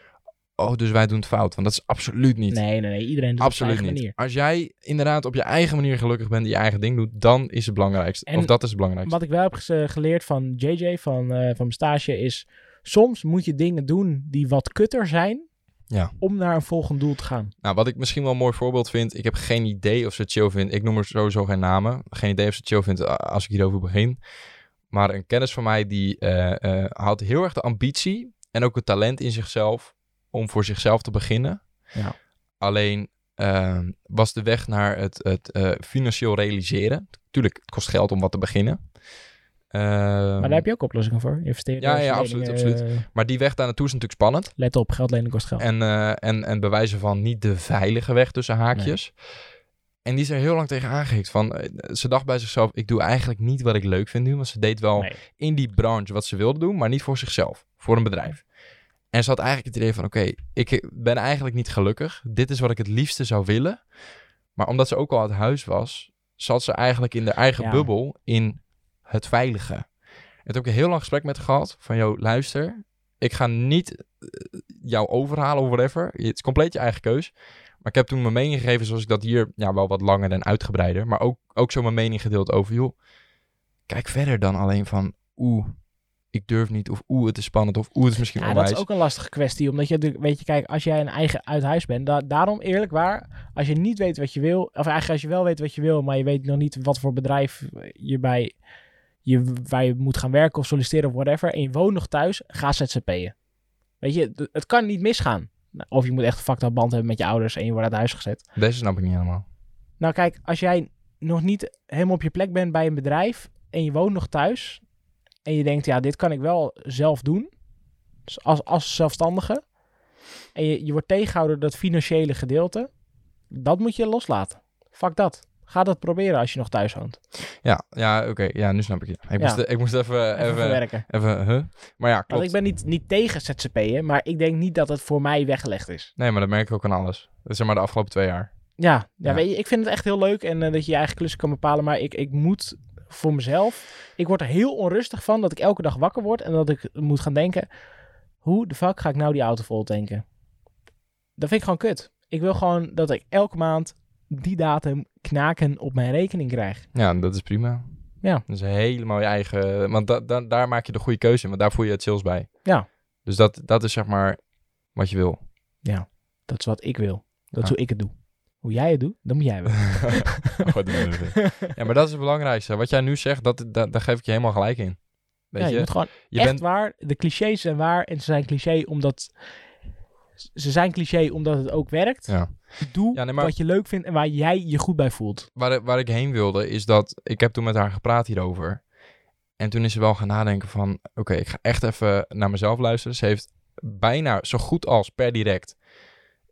Speaker 1: oh, dus wij doen het fout. Want dat is absoluut niet.
Speaker 2: Nee, nee, nee. Iedereen doet het op zijn
Speaker 1: Absoluut
Speaker 2: eigen
Speaker 1: niet.
Speaker 2: manier.
Speaker 1: Als jij inderdaad op je eigen manier gelukkig bent, je eigen ding doet, dan is het belangrijkste.
Speaker 2: En
Speaker 1: of dat is het belangrijkste.
Speaker 2: Wat ik wel heb ges- eh, geleerd van JJ, van, eh, van mijn stage, is... Soms moet je dingen doen die wat kutter zijn...
Speaker 1: Ja.
Speaker 2: om naar een volgend doel te gaan.
Speaker 1: Nou, wat ik misschien wel een mooi voorbeeld vind, ik heb geen idee of ze het chill vindt. Ik noem er sowieso geen namen. Geen idee of ze het chill vindt eh, als ik hierover begin. Maar een kennis van mij die eh, eh, had heel erg de ambitie en ook het talent in zichzelf om voor zichzelf te beginnen.
Speaker 2: Ja.
Speaker 1: Alleen ehm, was de weg naar het, het eh, financieel realiseren. Tuurlijk, het kost geld om wat te beginnen. Ehm,
Speaker 2: Maar daar heb je ook oplossingen voor. Investeren. eh,
Speaker 1: ja, ja, absoluut, Maar die weg daar naartoe is natuurlijk spannend.
Speaker 2: Let op, geld lenen kost geld.
Speaker 1: En, eh, en, en bewijzen van niet de veilige weg tussen haakjes. En die is er heel lang tegen aangehikt. Van, eh, ze dacht bij zichzelf, ik doe eigenlijk niet wat ik leuk vind nu. Want ze deed wel
Speaker 2: Nee.
Speaker 1: in die branche wat ze wilde doen, maar niet voor zichzelf. Voor een bedrijf. En ze had eigenlijk het idee van, oké, ik ben eigenlijk niet gelukkig. Dit is wat ik het liefste zou willen. Maar omdat ze ook al uit huis was, zat ze eigenlijk in de eigen
Speaker 2: Ja.
Speaker 1: bubbel in het veilige. Ik heb ook een heel lang gesprek met haar gehad van, joh, luister, ik ga niet eh, jou overhalen of whatever. Het is compleet je eigen keus. Maar ik heb toen mijn mening gegeven, zoals ik dat hier ja, wel wat langer en uitgebreider, maar ook, ook zo mijn mening gedeeld over, joh, kijk verder dan alleen van, oeh, ik durf niet, of oeh, het is spannend, of oeh, het is misschien
Speaker 2: Ja, dat
Speaker 1: onwijs.
Speaker 2: is ook een lastige kwestie. Omdat je, natuurlijk- weet je, kijk, als jij een eigen uit huis bent, da- daarom eerlijk waar, als je niet weet wat je wil, of eigenlijk als je wel weet wat je wil, maar je weet nog niet wat voor bedrijf je bij je, waar je moet gaan werken of solliciteren of whatever, en je woont nog thuis, ga ZZP'en. Weet je, d- het kan niet misgaan. Nou, Of je moet echt een fucked up band hebben met je ouders en je wordt uit huis gezet.
Speaker 1: Deze snap ik niet helemaal.
Speaker 2: Nou kijk, als jij nog niet helemaal op je plek bent bij een bedrijf en je woont nog thuis en je denkt, ja, dit kan ik wel zelf doen, dus als, als zelfstandige, en je, je wordt tegengehouden door dat financiële gedeelte, dat moet je loslaten. Fuck dat. Ga dat proberen als je nog thuis woont.
Speaker 1: Ja, ja oké. Ja, nu snap ik je. Ik,
Speaker 2: Ja.
Speaker 1: moest, ik moest even...
Speaker 2: Even,
Speaker 1: even, even,
Speaker 2: verwerken.
Speaker 1: huh? Maar ja,
Speaker 2: Want
Speaker 1: klopt.
Speaker 2: ik ben niet, niet tegen ZZP'en, maar ik denk niet dat het voor mij weggelegd is.
Speaker 1: Nee, maar dat merk ik ook aan alles. Dat zeg maar de afgelopen twee jaar.
Speaker 2: Ja, ja,
Speaker 1: Ja.
Speaker 2: Weet je, ik vind het echt heel leuk en eh, dat je je eigen klussen kan bepalen, maar ik, ik moet voor mezelf, ik word er heel onrustig van dat ik elke dag wakker word en dat ik moet gaan denken, hoe de fuck ga ik nou die auto vol tanken? Dat vind ik gewoon kut. Ik wil gewoon dat ik elke maand die datum knaken op mijn rekening krijg.
Speaker 1: Ja, dat is prima.
Speaker 2: Ja.
Speaker 1: Dat is helemaal je eigen... Want da, da- daar maak je de goede keuze in. Want daar voel je het sales bij.
Speaker 2: Ja.
Speaker 1: Dus dat, dat is zeg maar wat je wil.
Speaker 2: Dat is wat ik wil. Dat is
Speaker 1: Ja.
Speaker 2: hoe ik het doe. Hoe jij het doet, dat moet jij wel.
Speaker 1: Goed, dat is het. ja, maar dat is het belangrijkste. Wat jij nu zegt, dat, dat, daar geef ik je helemaal gelijk in. Weet
Speaker 2: Ja, je
Speaker 1: je?
Speaker 2: moet gewoon
Speaker 1: je
Speaker 2: echt
Speaker 1: bent...
Speaker 2: waar. De clichés zijn waar en ze zijn cliché omdat... Ze zijn cliché omdat het ook werkt.
Speaker 1: Ja.
Speaker 2: Doe
Speaker 1: Ja, nee, maar-
Speaker 2: wat je leuk vindt en waar jij je goed bij voelt.
Speaker 1: waar, waar ik heen wilde, is dat ik heb toen met haar gepraat hierover. En toen is ze wel gaan nadenken van, oké, ik ga echt even naar mezelf luisteren. Ze heeft bijna zo goed als per direct.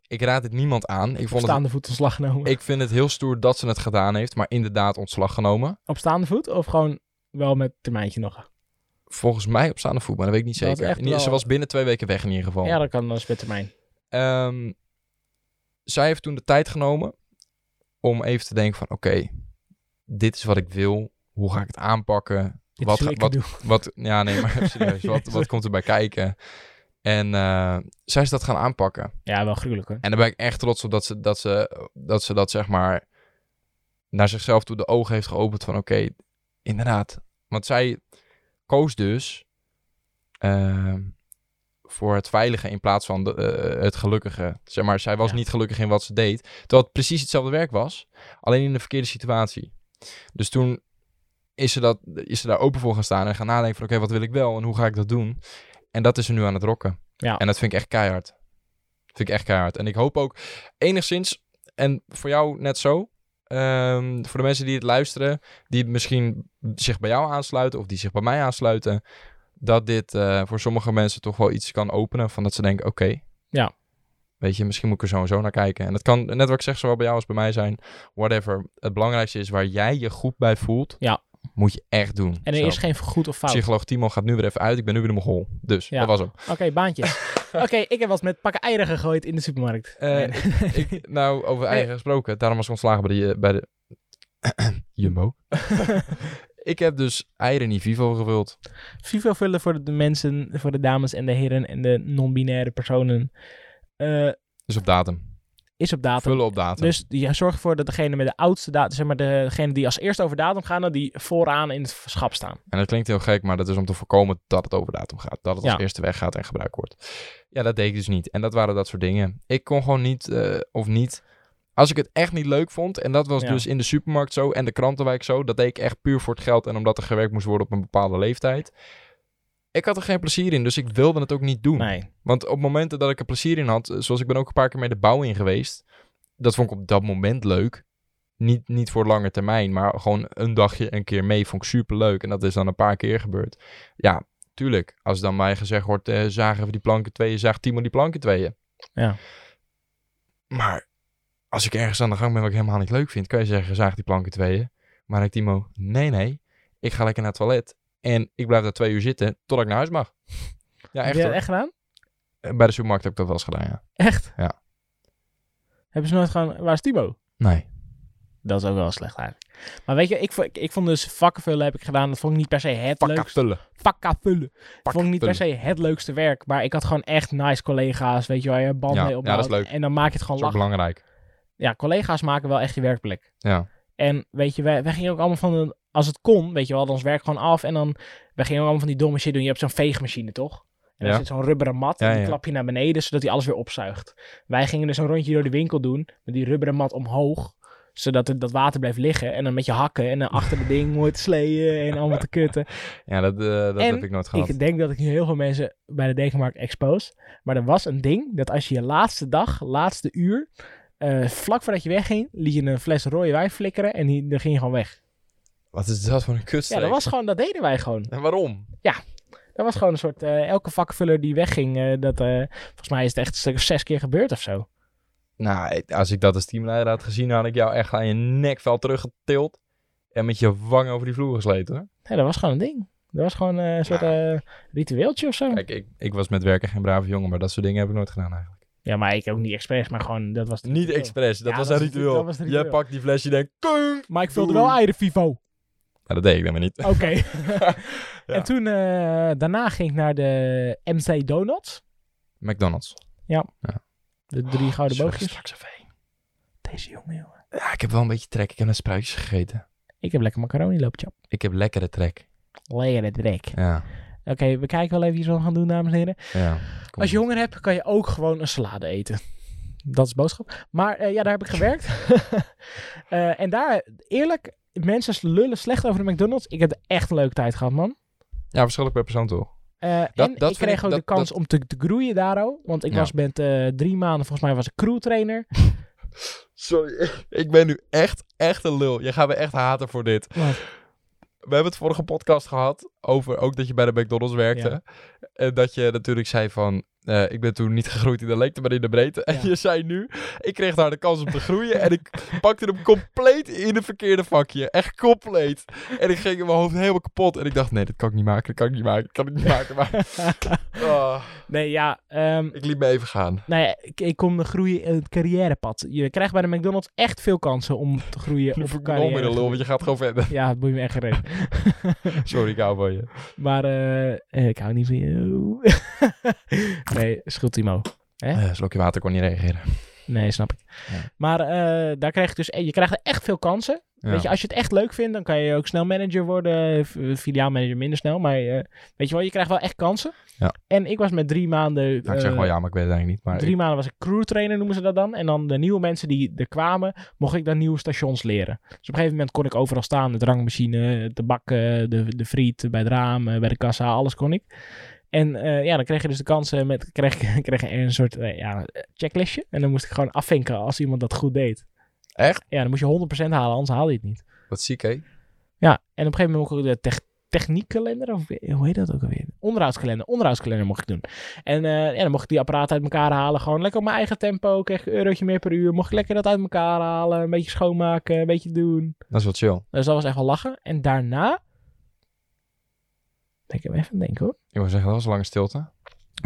Speaker 1: Ik raad het niemand aan. Ik,
Speaker 2: Op
Speaker 1: vond het,
Speaker 2: staande voet ontslag genomen.
Speaker 1: ik vind het heel stoer dat ze het gedaan heeft, maar inderdaad ontslag genomen.
Speaker 2: Op staande voet of gewoon wel met termijntje nog?
Speaker 1: Volgens mij op staande voet, maar dat weet ik niet
Speaker 2: Dat is
Speaker 1: zeker.
Speaker 2: echt
Speaker 1: In ieder- Ze
Speaker 2: wel-
Speaker 1: was binnen twee weken weg in ieder geval.
Speaker 2: Ja, dat kan dan met termijn.
Speaker 1: Ehm, zij heeft toen de tijd genomen om even te denken van... oké, dit is wat ik wil. Hoe ga ik het aanpakken?
Speaker 2: Dit
Speaker 1: Wat
Speaker 2: is
Speaker 1: ga-
Speaker 2: hoe ik
Speaker 1: wat-
Speaker 2: het doe.
Speaker 1: Wat, ja, nee, maar serieus. Wat, wat komt erbij kijken? En eh, zij is dat gaan aanpakken.
Speaker 2: Ja, wel gruwelijk hoor.
Speaker 1: En daar ben ik echt trots op dat ze dat, ze, dat, ze dat zeg maar naar zichzelf toe de ogen heeft geopend van oké, inderdaad. Want zij koos dus ehm, voor het veilige in plaats van de, eh, het gelukkige. Zeg maar, zij was
Speaker 2: Ja.
Speaker 1: niet gelukkig in wat ze deed. Terwijl het precies hetzelfde werk was, alleen in de verkeerde situatie. Dus toen is ze, dat, is ze daar open voor gaan staan en gaan nadenken van oké, wat wil ik wel en hoe ga ik dat doen? En dat is ze nu aan het rocken.
Speaker 2: Ja.
Speaker 1: En dat vind ik echt keihard. Vind ik echt keihard. En ik hoop ook enigszins, en voor jou net zo, ehm, voor de mensen die het luisteren, die misschien zich bij jou aansluiten of die zich bij mij aansluiten, dat dit eh, voor sommige mensen toch wel iets kan openen van dat ze denken, oké.
Speaker 2: Ja.
Speaker 1: Weet je, misschien moet ik er zo en zo naar kijken. En dat kan, net wat ik zeg, zowel bij jou als bij mij zijn. Whatever. Het belangrijkste is waar jij je goed bij voelt.
Speaker 2: Ja.
Speaker 1: Moet je echt doen.
Speaker 2: En
Speaker 1: Zo.
Speaker 2: er is geen goed of fout.
Speaker 1: Psycholoog Timo gaat nu weer even uit. Ik ben nu weer de mogol. Dus,
Speaker 2: Ja.
Speaker 1: dat was hem.
Speaker 2: Oké, baantjes. Oké, ik heb wat met pakken eieren gegooid in de supermarkt.
Speaker 1: Eh,
Speaker 2: Nee.
Speaker 1: Ik, nou, over eigen gesproken. Daarom was ik ontslagen bij de, eh, bij de Jumbo. ik heb dus eieren in die Vivo gevuld.
Speaker 2: Vivo vullen voor de mensen, voor de dames en de heren en de non-binaire personen eh,
Speaker 1: Dus op datum.
Speaker 2: is op datum.
Speaker 1: Vullen op datum.
Speaker 2: Dus ja, zorg ervoor dat degene met de oudste datum, zeg maar degene die als eerste over datum gaan, dat die vooraan in het schap staan.
Speaker 1: En dat klinkt heel gek, maar dat is om te voorkomen dat het over datum gaat. Dat het als
Speaker 2: Ja.
Speaker 1: eerste weggaat en gebruikt wordt. Ja, dat deed ik dus niet. En dat waren dat soort dingen. Ik kon gewoon niet, eh, of niet... Als ik het echt niet leuk vond, en dat was
Speaker 2: Ja.
Speaker 1: dus in de supermarkt zo en de krantenwijk zo, dat deed ik echt puur voor het geld en omdat er gewerkt moest worden op een bepaalde leeftijd. Ik had er geen plezier in, dus ik wilde het ook niet doen.
Speaker 2: Nee.
Speaker 1: Want op momenten dat ik er plezier in had, eh, zoals ik ben ook een paar keer met de bouw in geweest, dat vond ik op dat moment leuk. Niet, niet voor lange termijn, maar gewoon een dagje een keer mee vond ik super leuk. En dat is dan een paar keer gebeurd. Ja, tuurlijk. Als dan mij gezegd wordt, eh, zagen we die planken tweeën, zaag Timo die planken tweeën.
Speaker 2: Ja.
Speaker 1: Maar als ik ergens aan de gang ben wat ik helemaal niet leuk vind, kan je zeggen, zaag die planken tweeën. Maar ik Timo, nee, nee. Ik ga lekker naar het toilet. En ik blijf daar twee uur zitten totdat ik naar huis mag. Ja,
Speaker 2: heb
Speaker 1: echt.
Speaker 2: je dat
Speaker 1: hoor.
Speaker 2: echt gedaan?
Speaker 1: Eh, Bij de supermarkt heb ik dat wel eens gedaan, ja.
Speaker 2: Echt?
Speaker 1: Ja.
Speaker 2: Hebben ze nooit gewoon, waar is Timo?
Speaker 1: Nee.
Speaker 2: Dat is ook wel slecht eigenlijk. Maar weet je, ik, vo- ik, ik vond dus vakken vullen heb ik gedaan. Dat vond ik niet per se het
Speaker 1: Pakka
Speaker 2: leukste.
Speaker 1: vullen.
Speaker 2: Vakken vullen.
Speaker 1: Pak
Speaker 2: vond ik niet per
Speaker 1: vullen.
Speaker 2: se het leukste werk. Maar ik had gewoon echt nice collega's. Weet je waar je een band
Speaker 1: Ja,
Speaker 2: mee
Speaker 1: ja, dat
Speaker 2: opbouwt.
Speaker 1: is leuk.
Speaker 2: En dan maak je het
Speaker 1: Dat
Speaker 2: gewoon
Speaker 1: is ook
Speaker 2: lachen.
Speaker 1: belangrijk.
Speaker 2: Ja, collega's maken wel echt je werkplek.
Speaker 1: Ja.
Speaker 2: En weet je, wij, wij gingen ook allemaal van, de- als het kon, weet je, we hadden ons werk gewoon af. En dan, wij gingen ook allemaal van die domme shit doen. Je hebt zo'n veegmachine, toch? En daar
Speaker 1: Ja.
Speaker 2: zit zo'n rubberen mat en
Speaker 1: Ja,
Speaker 2: die
Speaker 1: ja.
Speaker 2: klap je naar beneden, zodat hij alles weer opzuigt. Wij gingen dus een rondje door de winkel doen, met die rubberen mat omhoog, zodat het, dat water blijft liggen. En dan met je hakken en dan achter de ding mooi te sleeën en allemaal te kutten.
Speaker 1: Ja, dat, eh, dat
Speaker 2: En
Speaker 1: heb ik nooit gehad.
Speaker 2: ik denk dat ik nu heel veel mensen bij de Dekenmarkt expose. Maar er was een ding, dat als je je laatste dag, laatste uur, eh, vlak voordat je wegging, liet je een fles rode wijn flikkeren en die, dan ging je gewoon weg.
Speaker 1: Wat is dat voor een kutstreek?
Speaker 2: Ja, dat was gewoon, dat deden wij gewoon.
Speaker 1: En waarom?
Speaker 2: Dat was gewoon een soort, eh, elke vakvuller die wegging, eh, dat, eh, volgens mij is het echt een stuk of zes keer gebeurd of zo.
Speaker 1: Nou, ik- als ik dat als teamleider had gezien, had ik jou echt aan je nekvel teruggetild. En met je wang over die vloer gesleten. hoor.
Speaker 2: Nee, dat was gewoon een ding. Dat was gewoon eh, een soort eh, ritueeltje of zo.
Speaker 1: Kijk, ik, ik was met werken geen brave jongen, maar dat soort dingen heb ik nooit gedaan eigenlijk.
Speaker 2: Ja, maar ik ook niet expres, maar gewoon, dat was het
Speaker 1: Niet
Speaker 2: ritueel.
Speaker 1: expres, dat,
Speaker 2: Ja,
Speaker 1: was
Speaker 2: dat
Speaker 1: een
Speaker 2: is-
Speaker 1: ritueel.
Speaker 2: dat was het
Speaker 1: Jij
Speaker 2: ritueel.
Speaker 1: pakt die fles, je denkt, "Kung!"
Speaker 2: Maar ik vulde wel eieren, Vivo.
Speaker 1: Ja, dat deed ik dan maar niet.
Speaker 2: Oké. En toen, eh, daarna ging ik naar de MC Donuts.
Speaker 1: McDonald's.
Speaker 2: De drie gouden
Speaker 1: Zullen we
Speaker 2: boogjes.
Speaker 1: Oh, straks even heen?
Speaker 2: Deze jongen, jongen.
Speaker 1: Ja, ik heb wel een beetje trek. Ik heb een spruitjes gegeten.
Speaker 2: Ik heb lekker macaroni loopje.
Speaker 1: Ik heb lekkere trek.
Speaker 2: Lekker het drek.
Speaker 1: Ja,
Speaker 2: Oké, we kijken wel even iets wat we gaan doen, dames en heren.
Speaker 1: ja. Kom.
Speaker 2: Als je honger hebt, kan je ook gewoon een salade eten. Dat is boodschap. Maar eh, ja, daar heb ik gewerkt. Eh, en daar, eerlijk, mensen lullen slecht over de McDonald's. Ik heb echt een leuke tijd gehad, man.
Speaker 1: Ja, verschillend per persoon toch?
Speaker 2: Eh,
Speaker 1: Dat-
Speaker 2: en
Speaker 1: dat vind
Speaker 2: ik kreeg
Speaker 1: ik-
Speaker 2: ook
Speaker 1: dat-
Speaker 2: de kans om te, te groeien daar ook. Want ik
Speaker 1: Ja.
Speaker 2: was met eh, drie maanden, volgens mij was ik crewtrainer.
Speaker 1: Sorry, ik ben nu echt, echt een lul. Je gaat me echt haten voor dit.
Speaker 2: Wat?
Speaker 1: We hebben het vorige podcast gehad over ook dat je bij de McDonald's werkte. En dat je natuurlijk zei van, eh, ik ben toen niet gegroeid in de lengte, maar in de breedte. En
Speaker 2: Ja.
Speaker 1: je zei nu, ik kreeg daar de kans om te groeien en ik pakte hem compleet in het verkeerde vakje. Echt compleet. En ik ging in mijn hoofd helemaal kapot. En ik dacht, nee, dat kan ik niet maken, dat kan ik niet maken, dat kan ik niet maken. Maar ah,
Speaker 2: nee, ja, ehm,
Speaker 1: ik liet me even gaan.
Speaker 2: nou ja, ik, ik kom de groeien in het carrièrepad. Je krijgt bij de McDonald's echt veel kansen om te groeien
Speaker 1: Nu
Speaker 2: op
Speaker 1: voel ik me nog meer een
Speaker 2: carrière.
Speaker 1: lul, want je gaat gewoon verder.
Speaker 2: Ja, het boeit me echt geen reet.
Speaker 1: Sorry, ik hou van je.
Speaker 2: Maar eh, eh, ik hou niet van jou. nee, is goed, Timo. Hè?
Speaker 1: Eh, slokje water kon niet reageren.
Speaker 2: Nee, snap ik.
Speaker 1: Ja.
Speaker 2: Maar eh, daar krijg je dus, eh, je krijgt er echt veel kansen.
Speaker 1: Ja.
Speaker 2: Weet je, als je het echt leuk vindt, dan kan je ook snel manager worden. v- Filiaalmanager minder snel, maar eh, weet je wel, je krijgt wel echt kansen.
Speaker 1: Ja.
Speaker 2: En ik was met drie maanden...
Speaker 1: Nou, ik zeg
Speaker 2: eh,
Speaker 1: wel ja, maar ik weet het eigenlijk niet. Maar
Speaker 2: Drie maanden was ik crewtrainer, noemen ze dat dan. En dan de nieuwe mensen die er kwamen, mocht ik dan nieuwe stations leren. Dus op een gegeven moment kon ik overal staan. De drankmachine, de bak, eh, de, de friet, bij het raam, eh, bij de kassa, alles kon ik. En eh, ja, dan kreeg je dus de kansen met, kreeg, ik- kreeg je een soort eh, ja, checklistje. En dan moest ik gewoon afvinken als iemand dat goed deed.
Speaker 1: Echt?
Speaker 2: Ja, dan moest je 100% halen, anders haalde je het niet.
Speaker 1: Wat ziek, hè?
Speaker 2: Ja, en op een gegeven moment mocht ik de tech, techniekkalender, of hoe heet dat ook alweer? Onderhoudskalender, onderhoudskalender mocht ik doen. En eh, ja, dan mocht ik die apparaten uit elkaar halen, gewoon lekker op mijn eigen tempo, kreeg ik een eurotje meer per uur, mocht ik lekker dat uit elkaar halen, een beetje schoonmaken, een beetje doen.
Speaker 1: Dat is wel chill.
Speaker 2: Dus dat was echt wel lachen. En daarna, denk even aan denken hoor,
Speaker 1: Ik wil zeggen, dat was een lange stilte.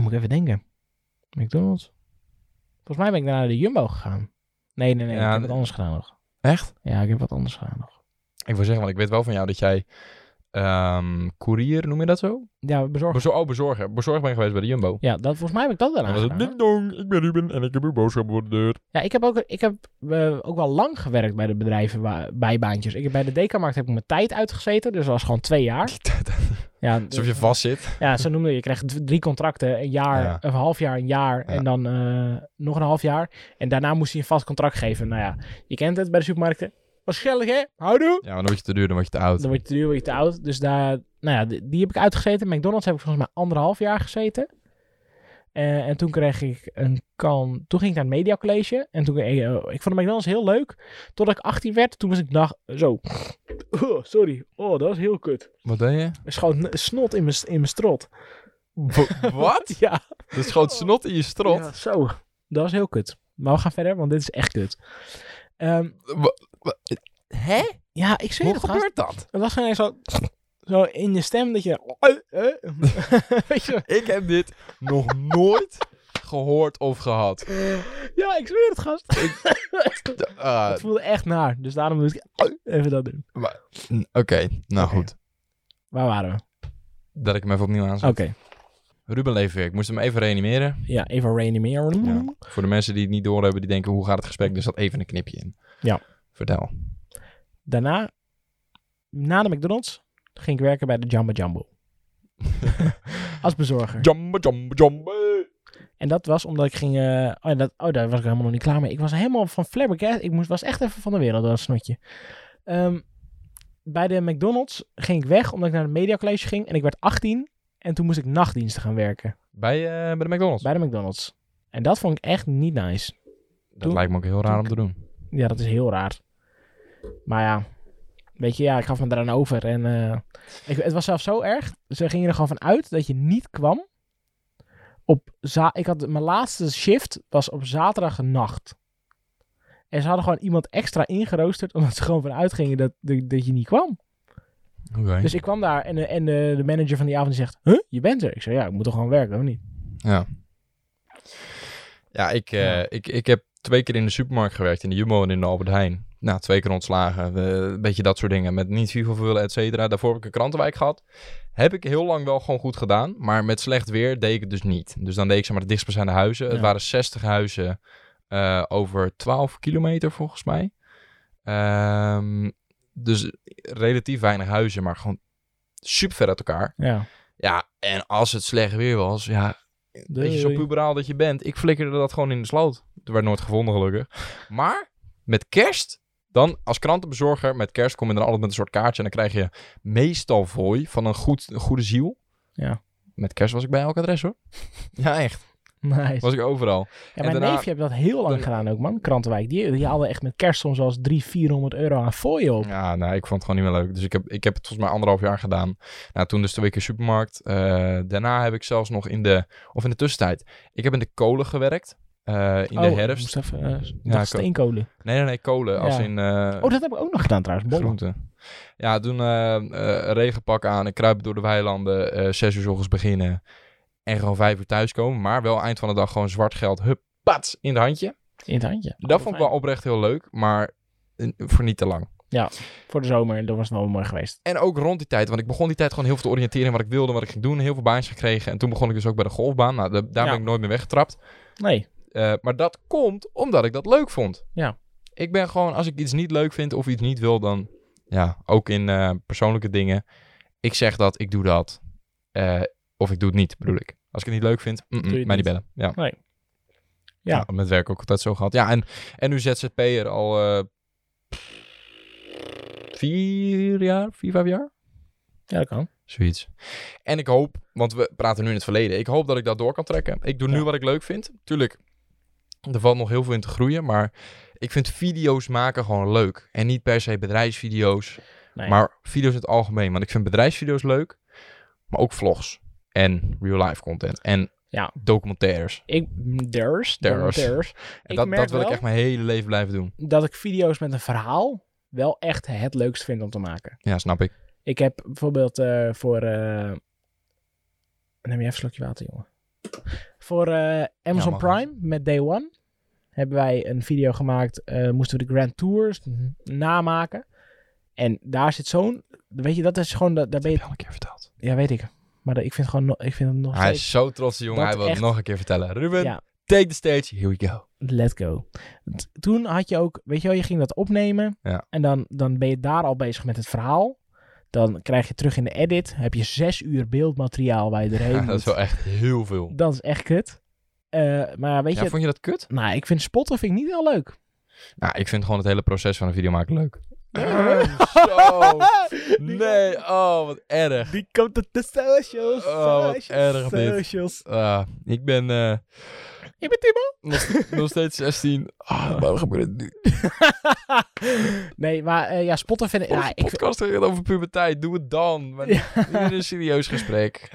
Speaker 2: moet ik even denken. McDonald's. Volgens mij ben ik daarna naar de Jumbo gegaan. Nee, nee, nee,
Speaker 1: Ja,
Speaker 2: ik heb
Speaker 1: de-
Speaker 2: wat anders gedaan nog.
Speaker 1: Echt?
Speaker 2: Ja, ik heb wat anders gedaan nog.
Speaker 1: Ik wil zeggen, want ik weet wel van jou dat jij ehm courier, noem je dat zo?
Speaker 2: Ja, bezorgd.
Speaker 1: Bezor oh, bezorger. Bezorger ben geweest bij de Jumbo.
Speaker 2: Ja, dat, volgens mij heb ik dat daarna
Speaker 1: Dan was het
Speaker 2: gedaan. hoor.
Speaker 1: ding dong, ik ben Ruben en ik heb uw boodschap voor de deur.
Speaker 2: Ja, ik heb ook, ik heb, eh, ook wel lang gewerkt bij de bedrijven, wa- bijbaantjes. Ik heb, bij de Dekamarkt heb ik mijn tijd uitgezeten, dus dat was gewoon twee jaar. Ja, eh,
Speaker 1: Alsof je vast zit.
Speaker 2: ja zo noemde je. Je kreeg d- drie contracten, een jaar,
Speaker 1: Ja.
Speaker 2: een half jaar, een jaar
Speaker 1: Ja.
Speaker 2: en dan eh, nog een half jaar. En daarna moest hij een vast contract geven. Nou ja, je kent het bij de supermarkten. Waarschijnlijk hè, houdoe.
Speaker 1: Ja, maar dan word je te duur, dan word je te oud.
Speaker 2: Dan word je te duur, word je te oud. Dus daar, nou ja, die, die heb ik uitgezeten. McDonald's heb ik volgens mij anderhalf jaar gezeten. Eh, en toen kreeg ik een kan. Toen ging ik naar het Media College. En toen. eh, ik vond de McDonald's heel leuk. Totdat ik 18 werd. Toen was ik dag. Zo. Oh, sorry. Oh, dat was heel kut.
Speaker 1: Wat deed je?
Speaker 2: Er schoot n- snot in mijn s- in mijn strot.
Speaker 1: Wa- Wat?
Speaker 2: Ja.
Speaker 1: Dat schoot snot in je strot.
Speaker 2: ja, Zo. Dat was heel kut. Maar we gaan verder, want dit is echt kut. Ehm,
Speaker 1: Hè?
Speaker 2: ja, ik zweer
Speaker 1: Hoe
Speaker 2: het gast.
Speaker 1: gebeurt dat?
Speaker 2: Het was gewoon echt zo. Zo in je stem dat je. "Oh, eh, Weet je.
Speaker 1: Ik heb dit nog nooit gehoord of gehad.
Speaker 2: Eh. Ja, ik zweer het, gast.
Speaker 1: Eh,
Speaker 2: het voelde echt naar. Dus daarom moest ik even dat doen.
Speaker 1: Oké, nou
Speaker 2: Oké.
Speaker 1: goed.
Speaker 2: Waar waren we?
Speaker 1: Dat ik hem even opnieuw aanzet.
Speaker 2: Oké. Oh.
Speaker 1: Ruben Leefweer, ik moest hem even reanimeren.
Speaker 2: Ja, even Rainy Mirror.
Speaker 1: Ja. Voor de mensen die het niet doorhebben, die denken hoe gaat het gesprek, er zat even een knipje in.
Speaker 2: Ja.
Speaker 1: Vertel.
Speaker 2: Daarna, na de McDonald's, ging ik werken bij de Jumbo Jumbo. Als bezorger.
Speaker 1: Jamba, jamba, jamba.
Speaker 2: En dat was omdat ik ging... eh, oh, ja, dat, oh, daar was ik helemaal nog niet klaar mee. Ik was helemaal van flabbergast. Ik moest, was echt even van de wereld, dat snotje. Ehm, bij de McDonald's ging ik weg omdat ik naar het Media College ging. En ik werd 18. En toen moest ik nachtdiensten gaan werken.
Speaker 1: Bij, eh, bij de McDonald's.
Speaker 2: Bij de McDonald's. En dat vond ik echt niet nice.
Speaker 1: dat
Speaker 2: toen-
Speaker 1: lijkt me ook heel raar om
Speaker 2: toen-
Speaker 1: te doen.
Speaker 2: Ja, dat is heel raar. Maar ja, Weet je, ja, ik gaf me eraan over. En eh, ik, het was zelfs zo erg. Ze gingen er gewoon van uit dat je niet kwam. Op za ik had, mijn laatste shift was op zaterdagnacht. En ze hadden gewoon iemand extra ingeroosterd. Omdat ze gewoon vanuit gingen dat, dat, dat je niet kwam.
Speaker 1: Oké.
Speaker 2: Dus ik kwam daar en, eh, en eh, de manager van die avond die zegt... Huh, je bent er? Ik zei, ja, ik moet toch gewoon werken, of niet?
Speaker 1: Ja, ik, eh,
Speaker 2: Ja.
Speaker 1: Ik, ik heb twee keer in de supermarkt gewerkt, in de Jumbo en in de Albert Heijn. Nou, twee keer ontslagen, eh, een beetje dat soort dingen. Met niet veel vullen, et cetera. Daarvoor heb ik een krantenwijk gehad. Heb ik heel lang wel gewoon goed gedaan, maar met slecht weer deed ik het dus niet. Dus dan deed ik zeg maar de dichtstbijzijnde huizen. Het
Speaker 2: Ja.
Speaker 1: waren 60 huizen eh, over 12 kilometer volgens mij. Ehm, dus relatief weinig huizen, maar gewoon super ver uit elkaar.
Speaker 2: Ja.
Speaker 1: Ja, en als het slecht weer was, ja, weet je, zo
Speaker 2: Doei.
Speaker 1: puberaal dat je bent. Ik flikkerde dat gewoon in de sloot. Het werd nooit gevonden, gelukkig. Maar met kerst, dan als krantenbezorger met kerst kom je dan altijd met een soort kaartje. En dan krijg je meestal vooi van een, goed, een goede ziel.
Speaker 2: Ja.
Speaker 1: Met kerst was ik bij elk adres, hoor. Ja, echt.
Speaker 2: Nice.
Speaker 1: Was ik overal.
Speaker 2: Ja,
Speaker 1: En
Speaker 2: mijn
Speaker 1: daarna-
Speaker 2: neefje heeft dat heel lang
Speaker 1: dan-
Speaker 2: gedaan ook, man. Krantenwijk. Die, die haalde echt met kerst soms wel eens 300, 400 euro aan fooien op.
Speaker 1: Ja, nou, ik vond het gewoon niet meer leuk. Dus ik heb, ik heb het volgens mij anderhalf jaar gedaan. Nou, toen dus twee keer supermarkt. Eh, daarna heb ik zelfs nog in de, of in de tussentijd, ik heb in de kolen gewerkt. Eh, in de
Speaker 2: Oh,
Speaker 1: herfst.
Speaker 2: moest even, eh, ik
Speaker 1: Ja,
Speaker 2: dacht
Speaker 1: ik ook.
Speaker 2: steenkolen.
Speaker 1: Nee, nee, nee, kolen. Als
Speaker 2: Ja.
Speaker 1: in eh
Speaker 2: Oh, dat heb ik ook nog gedaan trouwens. Bollen.
Speaker 1: groenten. Ja, toen eh, eh, regenpak aan. Ik kruip door de weilanden. eh zes uur 's ochtends beginnen. En gewoon vijf uur thuiskomen. Maar wel eind van de dag gewoon zwart geld. Hup, pats, in het handje.
Speaker 2: In het handje.
Speaker 1: dat vond ik wel
Speaker 2: Oh, fijn.
Speaker 1: oprecht heel leuk. Maar eh, voor niet te lang.
Speaker 2: Voor de zomer, dat was het wel mooi geweest.
Speaker 1: En ook rond die tijd. Want ik begon die tijd gewoon heel veel te oriënteren. in Wat ik wilde, wat ik ging doen. Heel veel baantjes gekregen. En toen begon ik dus ook bij de golfbaan. Nou, da- daar
Speaker 2: Ja.
Speaker 1: ben ik nooit meer weggetrapt.
Speaker 2: Nee.
Speaker 1: Eh, maar dat komt omdat ik dat leuk vond.
Speaker 2: Ja.
Speaker 1: Ik ben gewoon, als ik iets niet leuk vind of iets niet wil, dan ja, ook in eh, persoonlijke dingen. Ik zeg dat, ik doe dat. Eh, of ik doe het niet, bedoel ik. Als ik het niet leuk vind, mm-mm,
Speaker 2: Doe je het
Speaker 1: mij niet
Speaker 2: niet.
Speaker 1: bellen. Ja.
Speaker 2: Nee.
Speaker 1: Ja.
Speaker 2: Ja.
Speaker 1: met werk ook altijd zo gehad. Ja, en, en nu ZZP'er al eh, vier jaar, vier, vijf jaar?
Speaker 2: Ja, dat kan.
Speaker 1: Zoiets. En ik hoop, want we praten nu in het verleden, ik hoop dat ik dat door kan trekken. Ik doe nu
Speaker 2: Ja.
Speaker 1: wat ik leuk vind. Tuurlijk, er valt nog heel veel in te groeien, maar ik vind video's maken gewoon leuk. En niet per se bedrijfsvideo's,
Speaker 2: Nee.
Speaker 1: maar video's in het algemeen. Want ik vind bedrijfsvideo's leuk, maar ook vlogs en real-life content en
Speaker 2: Ja.
Speaker 1: documentaires.
Speaker 2: Ik, there's,
Speaker 1: There's.
Speaker 2: there's.
Speaker 1: En
Speaker 2: Ik
Speaker 1: dat,
Speaker 2: merk
Speaker 1: dat wil ik
Speaker 2: wel-
Speaker 1: echt mijn hele leven blijven doen.
Speaker 2: Dat ik video's met een verhaal wel echt het leukst vind om te maken.
Speaker 1: Ja, snap ik.
Speaker 2: Ik heb bijvoorbeeld eh, voor... eh, Neem je even een slokje water, jongen. Voor eh, Amazon
Speaker 1: mag wel.
Speaker 2: Prime met Day One hebben wij een video gemaakt. eh, moesten we de Grand Tours
Speaker 1: Mhm.
Speaker 2: n- namaken. En daar zit zo'n... Weet je, dat is gewoon... da- Daar ben
Speaker 1: Dat heb
Speaker 2: je,
Speaker 1: je al een keer verteld.
Speaker 2: ja, weet ik. Maar dat- ik vind, gewoon, no- ik vind het nog
Speaker 1: Hij
Speaker 2: steeds...
Speaker 1: is zo trots, jongen.
Speaker 2: Dat
Speaker 1: Hij wil het
Speaker 2: echt-
Speaker 1: nog een keer vertellen. Ruben,
Speaker 2: Ja.
Speaker 1: take the stage. Here we go.
Speaker 2: Let's go. T- Toen had je ook, weet je wel, je ging dat opnemen.
Speaker 1: Ja.
Speaker 2: En dan, dan ben je daar al bezig met het verhaal. Dan krijg je terug in de edit. Heb je zes uur beeldmateriaal waar je doorheen
Speaker 1: Ja,
Speaker 2: moet.
Speaker 1: dat is wel echt heel veel.
Speaker 2: Dat is echt kut. Eh, maar weet
Speaker 1: Ja,
Speaker 2: je,
Speaker 1: vond je dat kut?
Speaker 2: nou, ik vind spotten vind ik niet heel leuk.
Speaker 1: Nou, ik vind gewoon het hele proces van een video maken leuk. Ah, Oh, Nee, oh, wat erg.
Speaker 2: Die komt op de socials.
Speaker 1: Oh, wat erg dit.
Speaker 2: Socials.
Speaker 1: Ah, ik ben eh,
Speaker 2: Ik ben Timo.
Speaker 1: nog, nog steeds 16. Ah, waarom gebeurt het nu?
Speaker 2: nee, maar eh, ja, spotten vind ik...
Speaker 1: Onze
Speaker 2: Ja, ik
Speaker 1: podcast gaat over puberteit. Doe het dan. Maar Hier een serieus gesprek.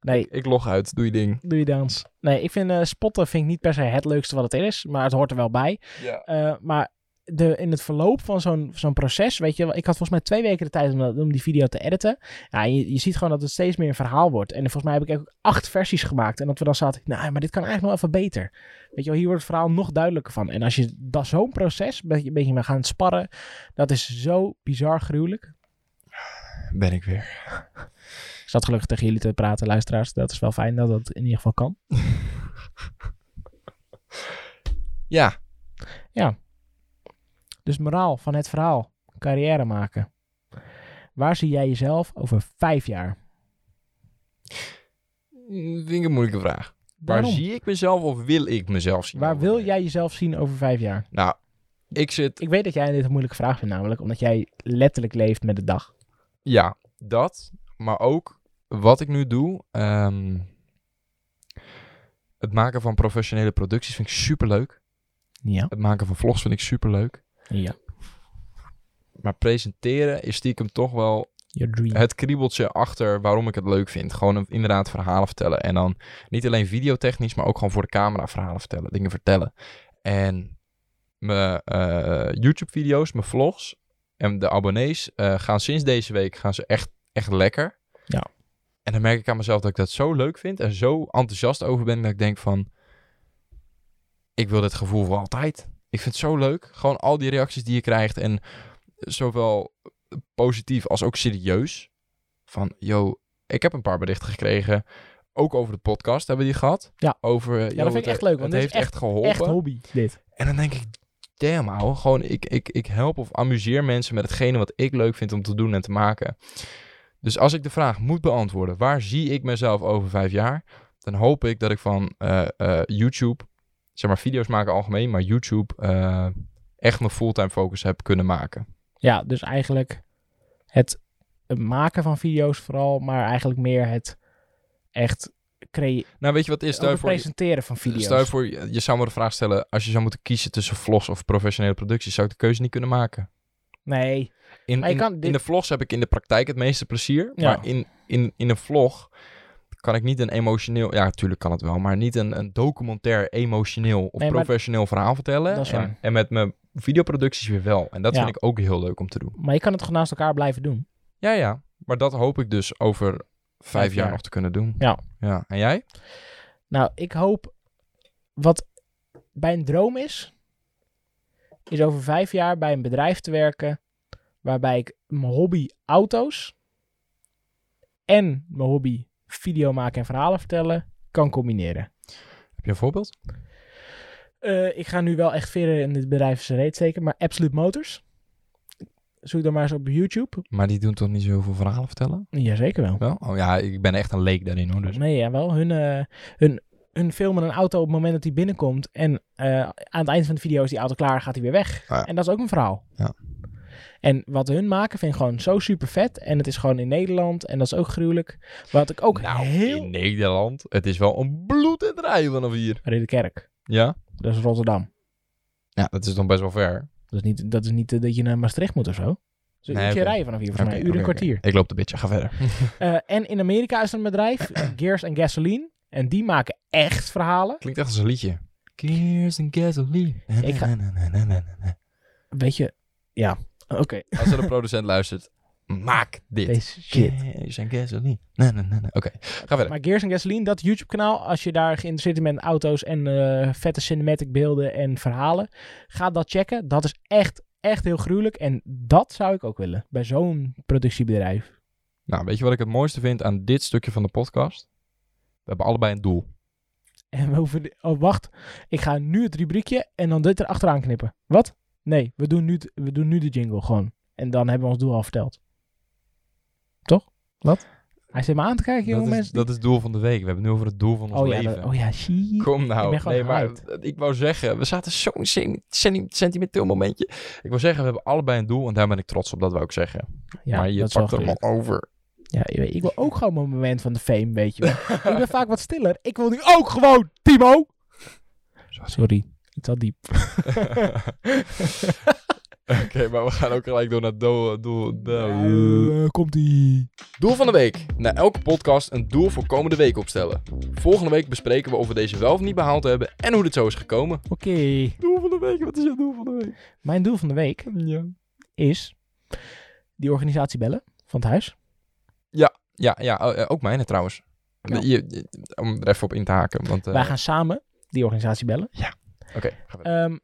Speaker 2: nee,
Speaker 1: Ik log uit. Doe je ding.
Speaker 2: doe je dans. Nee, ik vind eh, spotten vind ik niet per se het leukste wat het er is. Maar het hoort er wel bij.
Speaker 1: Ja.
Speaker 2: Eh, maar de, in het verloop van zo'n zo'n proces, weet je wel, ik had volgens mij twee weken de tijd om, dat- om die video te editen. Ja, en je, je ziet gewoon dat het steeds meer een verhaal wordt. En volgens mij heb ik ook acht versies gemaakt. En dat we dan zaten, nou, maar dit kan eigenlijk nog even beter. Weet je wel, hier wordt het verhaal nog duidelijker van. En als je dat zo'n proces, een beetje, een beetje mee gaan sparren, dat is zo bizar gruwelijk.
Speaker 1: Ben ik weer.
Speaker 2: Ik zat gelukkig tegen jullie te praten, luisteraars. Dat is wel fijn dat dat in ieder geval kan.
Speaker 1: Ja,
Speaker 2: Dus moraal van het verhaal, carrière maken. Waar zie jij jezelf over vijf jaar?
Speaker 1: vind ik een moeilijke vraag. Waar
Speaker 2: Waarom?
Speaker 1: zie ik mezelf of wil ik mezelf zien?
Speaker 2: Waar wil jij jezelf zien over vijf jaar?
Speaker 1: Nou, ik zit
Speaker 2: Ik weet dat jij dit een moeilijke vraag vindt, namelijk omdat jij letterlijk leeft met de dag.
Speaker 1: Ja, dat. Maar ook wat ik nu doe. ehm, het maken van professionele producties vind ik superleuk.
Speaker 2: Ja.
Speaker 1: Het maken van vlogs vind ik superleuk.
Speaker 2: Ja.
Speaker 1: Maar presenteren is stiekem toch wel
Speaker 2: Your dream.
Speaker 1: het kriebeltje achter waarom ik het leuk vind. Gewoon een- inderdaad verhalen vertellen. En dan niet alleen videotechnisch, maar ook gewoon voor de camera verhalen vertellen. Dingen vertellen. En mijn eh, YouTube-video's, mijn vlogs en de abonnees eh, gaan sinds deze week gaan ze echt, echt lekker.
Speaker 2: Ja.
Speaker 1: En dan merk ik aan mezelf dat ik dat zo leuk vind en zo enthousiast over ben dat ik denk van... Ik wil dit gevoel voor altijd. Ik vind het zo leuk. Gewoon al die reacties die je krijgt en zowel positief als ook serieus. Van, yo, ik heb een paar berichten gekregen. Ook over de podcast hebben we die gehad.
Speaker 2: Ja.
Speaker 1: over, eh, yo,
Speaker 2: vind ik
Speaker 1: het-
Speaker 2: echt leuk, want
Speaker 1: Het
Speaker 2: dit
Speaker 1: heeft
Speaker 2: is
Speaker 1: echt geholpen.
Speaker 2: Echt hobby, dit.
Speaker 1: en dan denk ik, damn ouwe, gewoon ik, ik, ik help of amuseer mensen met hetgene wat ik leuk vind om te doen en te maken. Dus als ik de vraag moet beantwoorden, waar zie ik mezelf over vijf jaar? Dan hoop ik dat ik van eh, eh, YouTube, zeg maar video's maken algemeen, maar YouTube eh, echt mijn fulltime focus heb kunnen maken.
Speaker 2: Ja, dus eigenlijk het maken van video's vooral, maar eigenlijk meer het echt creëren,
Speaker 1: Nou, weet je wat het is? Stel je
Speaker 2: het
Speaker 1: voor,
Speaker 2: presenteren van video's.
Speaker 1: Stel je voor, je je zou me de vraag stellen, als je zou moeten kiezen tussen vlogs of professionele producties, zou ik de keuze niet kunnen maken.
Speaker 2: Nee,
Speaker 1: In,
Speaker 2: Maar je
Speaker 1: in,
Speaker 2: kan
Speaker 1: in
Speaker 2: dit-
Speaker 1: de vlogs heb ik in de praktijk het meeste plezier,
Speaker 2: Ja.
Speaker 1: maar in, in, in een vlog kan ik niet een emotioneel, ja natuurlijk kan het wel, maar niet een, een documentair emotioneel of
Speaker 2: Nee, maar-
Speaker 1: professioneel verhaal vertellen.
Speaker 2: Dat is
Speaker 1: en,
Speaker 2: waar.
Speaker 1: en met mijn videoproducties weer wel. En dat
Speaker 2: Ja.
Speaker 1: vind ik ook heel leuk om te doen.
Speaker 2: maar je kan het gewoon naast elkaar blijven doen.
Speaker 1: Ja, ja. Maar dat hoop ik dus over vijf,
Speaker 2: Vijf
Speaker 1: jaar
Speaker 2: jaar.
Speaker 1: nog te kunnen doen.
Speaker 2: Ja.
Speaker 1: ja. En jij?
Speaker 2: Nou, ik hoop wat bij een droom is, is over vijf jaar bij een bedrijf te werken waarbij ik mijn hobby auto's en mijn hobby video maken en verhalen vertellen kan combineren.
Speaker 1: Heb je een voorbeeld?
Speaker 2: Eh, ik ga nu wel echt verder in dit bedrijf zijn reet steken, maar Absolute Motors. Zoek dan maar eens op YouTube.
Speaker 1: Maar die doen toch niet zoveel verhalen vertellen?
Speaker 2: Jazeker wel.
Speaker 1: Wel? Oh ja, ik ben echt een leek daarin hoor. Dus.
Speaker 2: Nee, ja, wel. Hun, eh, hun, hun filmen een auto op het moment dat hij binnenkomt. En eh, aan het eind van de video is die auto klaar, gaat hij weer weg.
Speaker 1: Ah ja.
Speaker 2: En dat is ook een verhaal.
Speaker 1: Ja.
Speaker 2: En wat hun maken vind ik gewoon zo super vet. En het is gewoon in Nederland. En dat is ook gruwelijk. Wat ik ook
Speaker 1: nou,
Speaker 2: heel...
Speaker 1: in Nederland. Het is wel een bloed en rijden vanaf hier.
Speaker 2: Ridderkerk.
Speaker 1: Ja?
Speaker 2: Dat is Rotterdam.
Speaker 1: Ja, dat is dan best wel ver.
Speaker 2: Dat is niet, dat is niet eh, dat je naar Maastricht moet of zo. Dus
Speaker 1: Nee,
Speaker 2: een keer
Speaker 1: oké.
Speaker 2: rijden vanaf hier, volgens
Speaker 1: Oké,
Speaker 2: mij. Een uur en
Speaker 1: oké,
Speaker 2: kwartier.
Speaker 1: oké. Ik loop een beetje, ga verder.
Speaker 2: Eh, en in Amerika is er een bedrijf, Gears and Gasoline. En die maken echt verhalen.
Speaker 1: Klinkt echt als een liedje. Gears and gasoline.
Speaker 2: Ik ga- Weet je... Ja, oké.
Speaker 1: Als er een producent luistert, maak dit.
Speaker 2: Deze shit.
Speaker 1: Gears and gasoline. Na, na, na, na. Oké, ga verder.
Speaker 2: Maar Gears and Gasoline, dat YouTube-kanaal, als je daar geïnteresseerd in bent in auto's en eh, vette cinematic beelden en verhalen, ga dat checken. Dat is echt, echt heel gruwelijk. En dat zou ik ook willen bij zo'n productiebedrijf.
Speaker 1: Nou, weet je wat ik het mooiste vind aan dit stukje van de podcast? We hebben allebei een doel.
Speaker 2: En we hoeven. de- Oh, wacht. Ik ga nu het rubriekje en dan dit erachteraan knippen. Wat? Nee, we doen nu, het- we doen nu de jingle gewoon. En dan hebben we ons doel al verteld. Toch? Wat? Hij zit me aan te kijken, jongen.
Speaker 1: Dat is,
Speaker 2: mensen.
Speaker 1: dat is het doel van de week. We hebben het nu over het doel van ons
Speaker 2: oh, ja,
Speaker 1: leven.
Speaker 2: dat- oh ja, shit.
Speaker 1: Kom
Speaker 2: Ik
Speaker 1: nou.
Speaker 2: ben gewoon
Speaker 1: nee, maar
Speaker 2: hyped.
Speaker 1: het- ik wou zeggen, we zaten zo'n sen- seni- sentimenteel momentje. Ik wil zeggen, we hebben allebei een doel en daar ben ik trots op, dat wou ik zeggen.
Speaker 2: Ja,
Speaker 1: maar je
Speaker 2: dat is wel
Speaker 1: pakt hem
Speaker 2: gruwelijk.
Speaker 1: al over.
Speaker 2: Ja, je weet, ik wil ook gewoon mijn moment van de fame, weet je wel. ik ben vaak wat stiller. Ik wil nu ook gewoon, Timo! Sorry, het zat diep.
Speaker 1: Oké, maar we gaan ook gelijk door naar het doel, doel, doel.
Speaker 2: Eh, Komt-ie.
Speaker 1: Doel van de week. Na elke podcast een doel voor komende week opstellen. Volgende week bespreken we of we deze wel of niet behaald hebben en hoe dit zo is gekomen.
Speaker 2: Oké,
Speaker 1: Doel van de week, wat is het doel van de week?
Speaker 2: mijn doel van de week
Speaker 1: Ja.
Speaker 2: is die organisatie bellen van het huis.
Speaker 1: Ja, ja o- eh, ook mijne trouwens.
Speaker 2: Ja.
Speaker 1: Je- je- om er even op in te haken. Want, eh,
Speaker 2: Wij gaan samen die organisatie bellen.
Speaker 1: Oké, ga verder.
Speaker 2: Ehm,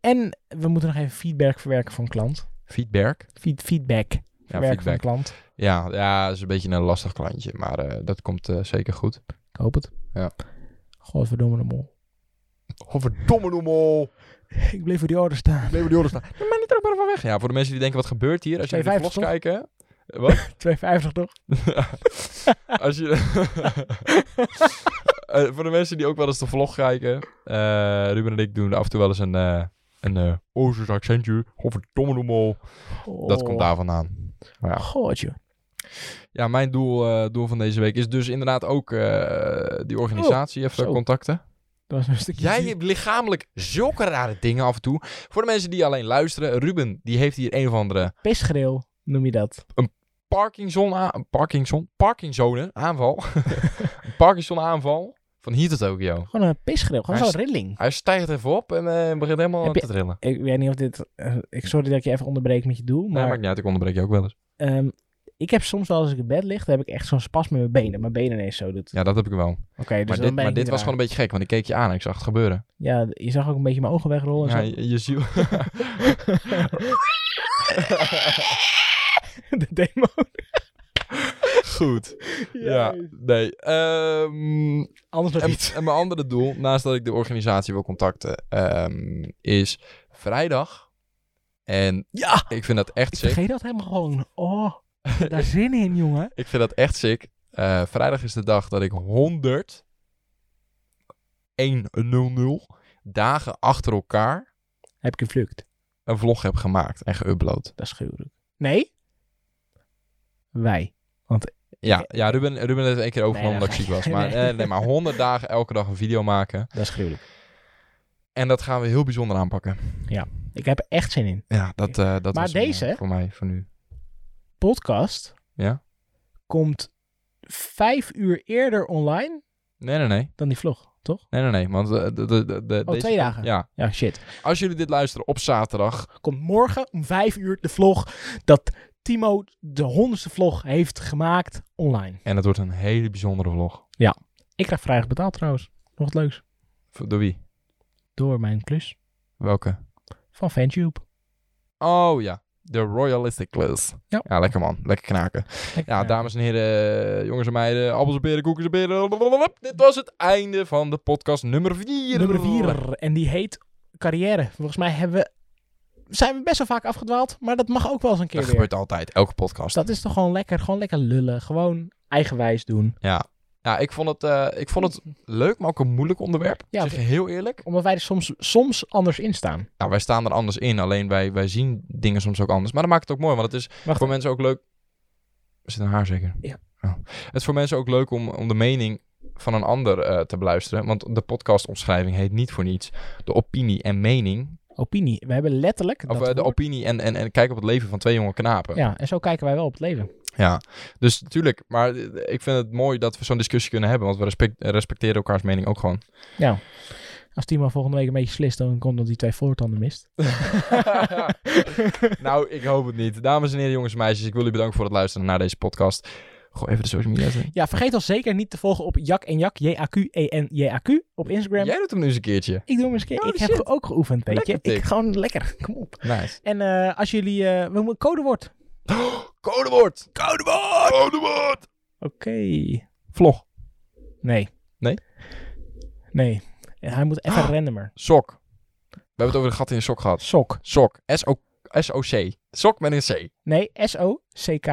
Speaker 2: en we moeten nog even feedback verwerken van klant.
Speaker 1: Feedback.
Speaker 2: Feed- feedback
Speaker 1: Ja,
Speaker 2: verwerken van
Speaker 1: feedback.
Speaker 2: klant.
Speaker 1: Ja, ja, is een beetje een lastig klantje, maar eh, dat komt eh, zeker goed.
Speaker 2: Ik hoop het.
Speaker 1: Ja.
Speaker 2: Godverdomme de mol.
Speaker 1: Oh, verdomme noemel.
Speaker 2: Ik bleef voor die order staan.
Speaker 1: Bleven die oren staan. Maar niet er ook maar van weg. Ja, voor de mensen die denken, wat gebeurt hier? Als je naar de
Speaker 2: 2,50
Speaker 1: vlogs kijken... Eh, Wat?
Speaker 2: 2,50 toch?
Speaker 1: Als je... Eh, voor de mensen die ook wel eens de vlog kijken... eh, Ruben en ik doen af en toe wel eens een... eh een eh Oosters accentje. Oh, verdomme noemel. Dat komt daar vandaan. Maar
Speaker 2: Oh,
Speaker 1: ja.
Speaker 2: Gootje.
Speaker 1: Ja, mijn doel, eh, doel van deze week is dus inderdaad ook eh, die organisatie even
Speaker 2: zo.
Speaker 1: contacten.
Speaker 2: Dat was een stukje
Speaker 1: Jij
Speaker 2: ziek.
Speaker 1: hebt lichamelijk zulke rare dingen af en toe. Voor de mensen die alleen luisteren, Ruben, die heeft hier een of andere
Speaker 2: Pestgril noem je dat.
Speaker 1: Parkinson, aan- Parkinson, Parkinsone aanval. Parkinson aanval van hier tot Tokio.
Speaker 2: Gewoon een pestgril. Gewoon
Speaker 1: Maar
Speaker 2: zo'n rilling.
Speaker 1: Hij stijgt even op en eh, begint helemaal
Speaker 2: Heb je-
Speaker 1: te trillen.
Speaker 2: Ik weet niet of dit... eh, ik sorry dat ik je even onderbreek met je doel,
Speaker 1: Nee,
Speaker 2: maar...
Speaker 1: maakt niet uit, ik onderbreek je ook wel eens.
Speaker 2: ehm, ik heb soms wel als ik in bed lig, dan heb ik echt zo'n spas met mijn benen. Mijn benen ineens zo doet.
Speaker 1: Ja, dat heb ik wel.
Speaker 2: Oké,
Speaker 1: maar
Speaker 2: dus dan
Speaker 1: dit,
Speaker 2: ben
Speaker 1: maar
Speaker 2: ik
Speaker 1: dit was
Speaker 2: niet raar.
Speaker 1: gewoon een beetje gek, want ik keek je aan en ik zag het gebeuren.
Speaker 2: Ja, je zag ook een beetje mijn ogen wegrollen.
Speaker 1: Ja,
Speaker 2: en zo.
Speaker 1: je, je ziel...
Speaker 2: de demo.
Speaker 1: Goed. Ja, nee. Ehm,
Speaker 2: Anders nog
Speaker 1: en,
Speaker 2: iets.
Speaker 1: en mijn andere doel, naast dat ik de organisatie wil contacten, ehm, is vrijdag. En
Speaker 2: Ja!
Speaker 1: ik vind dat echt
Speaker 2: Ik
Speaker 1: sick.
Speaker 2: vergeet dat helemaal gewoon. Oh, daar zin in, jongen.
Speaker 1: Ik vind dat echt sick. Eh, vrijdag is de dag dat ik 100 100 dagen achter elkaar
Speaker 2: Heb ik gevlucht.
Speaker 1: een vlog heb gemaakt en geüpload.
Speaker 2: Dat is gruwelijk. Nee? Wij.
Speaker 1: Ja, ja Ruben, Ruben heeft het één keer overgenomen omdat
Speaker 2: Nee,
Speaker 1: ik ziek
Speaker 2: dat
Speaker 1: was.
Speaker 2: ga je-
Speaker 1: Maar,
Speaker 2: nee.
Speaker 1: eh, nee, maar 100 dagen elke dag een video maken.
Speaker 2: Dat is gruwelijk.
Speaker 1: En dat gaan we heel bijzonder aanpakken.
Speaker 2: Ik heb er echt zin in.
Speaker 1: Ja, dat, eh, dat
Speaker 2: Maar
Speaker 1: was hem, eh,
Speaker 2: deze?
Speaker 1: voor mij voor nu.
Speaker 2: Podcast
Speaker 1: Ja.
Speaker 2: komt vijf uur eerder online
Speaker 1: Nee, nee, nee.
Speaker 2: dan die vlog, toch?
Speaker 1: Nee, nee, nee. Want eh, de, de, de, de-
Speaker 2: Oh,
Speaker 1: deze-
Speaker 2: twee dagen.
Speaker 1: Ja.
Speaker 2: Ja, shit.
Speaker 1: Als jullie dit luisteren op zaterdag.
Speaker 2: Komt morgen om vijf uur de vlog dat Timo de honderdste vlog heeft gemaakt online.
Speaker 1: En het wordt een hele bijzondere vlog.
Speaker 2: Ik krijg vrijdag betaald trouwens. Nog wat leuks.
Speaker 1: V- Door wie?
Speaker 2: Door mijn klus
Speaker 1: Welke?
Speaker 2: van Fantube.
Speaker 1: Oh ja. De Royalistic Class.
Speaker 2: Ja.
Speaker 1: lekker man. Lekker knaken. Ja,
Speaker 2: eh,
Speaker 1: dames en heren, jongens en meiden, appels en peren, koekjes en peren. blablabla. Dit was het einde van de podcast nummer 4.
Speaker 2: Nummer vier. En die heet carrière. Volgens mij hebben we, zijn we best wel vaak afgedwaald. Maar dat mag ook wel eens een keer
Speaker 1: Dat
Speaker 2: weer.
Speaker 1: gebeurt altijd, elke podcast.
Speaker 2: Dus dat is toch gewoon lekker. Gewoon lekker lullen. Gewoon eigenwijs doen.
Speaker 1: Ja. Ja, ik vond, het, eh, ik vond het leuk, maar ook een moeilijk onderwerp.
Speaker 2: Ja,
Speaker 1: zeg je heel eerlijk.
Speaker 2: Omdat wij er soms, soms anders in staan.
Speaker 1: Nou, wij staan er anders in, alleen wij, wij zien dingen soms ook anders. Maar dat maakt het ook mooi, want het is
Speaker 2: Wacht.
Speaker 1: voor mensen ook leuk... Er zit een haar zeker?
Speaker 2: Ja.
Speaker 1: Oh. Het is voor mensen ook leuk om, om de mening van een ander eh, te beluisteren. Want de podcastomschrijving heet niet voor niets de opinie en mening
Speaker 2: Opinie. We hebben letterlijk...
Speaker 1: Of
Speaker 2: dat
Speaker 1: eh, de
Speaker 2: woord.
Speaker 1: opinie en, en, en kijk op het leven van twee jonge knapen. Ja.
Speaker 2: Ja, en zo kijken wij wel op het leven.
Speaker 1: Dus natuurlijk, maar eh, ik vind het mooi dat we zo'n discussie kunnen hebben. Want we respect- eh, respecteren elkaars mening ook gewoon.
Speaker 2: Ja. Als Timo volgende week een beetje slist, dan komt dat hij twee voortanden mist.
Speaker 1: nou, ik hoop het niet. Dames en heren, jongens en meisjes, ik wil u bedanken voor het luisteren naar deze podcast. Gooi even de social media erin.
Speaker 2: Ja, vergeet ons zeker niet te volgen op Jak en Jak, E J-A-Q-E-N-J-A-Q, op Instagram.
Speaker 1: Jij doet hem nu eens een keertje.
Speaker 2: Ik doe hem eens een keer.
Speaker 1: Oh,
Speaker 2: ik heb
Speaker 1: shit.
Speaker 2: ook geoefend, weet
Speaker 1: Lekker
Speaker 2: je. Ik
Speaker 1: tik.
Speaker 2: gewoon lekker. Kom op.
Speaker 1: Nice.
Speaker 2: En eh, als jullie... eh, we moeten codewoord.
Speaker 1: Codewoord! Codewoord! Codewoord!
Speaker 2: Oké.
Speaker 1: Vlog.
Speaker 2: Nee.
Speaker 1: Nee? Ah.
Speaker 2: Nee. Ja, Hij moet even randomer.
Speaker 1: Sok. We hebben het over de gat in de sok gehad.
Speaker 2: Sok.
Speaker 1: Sok. S-O- S-O-C. Sok met een C.
Speaker 2: Nee, S-O-C-K.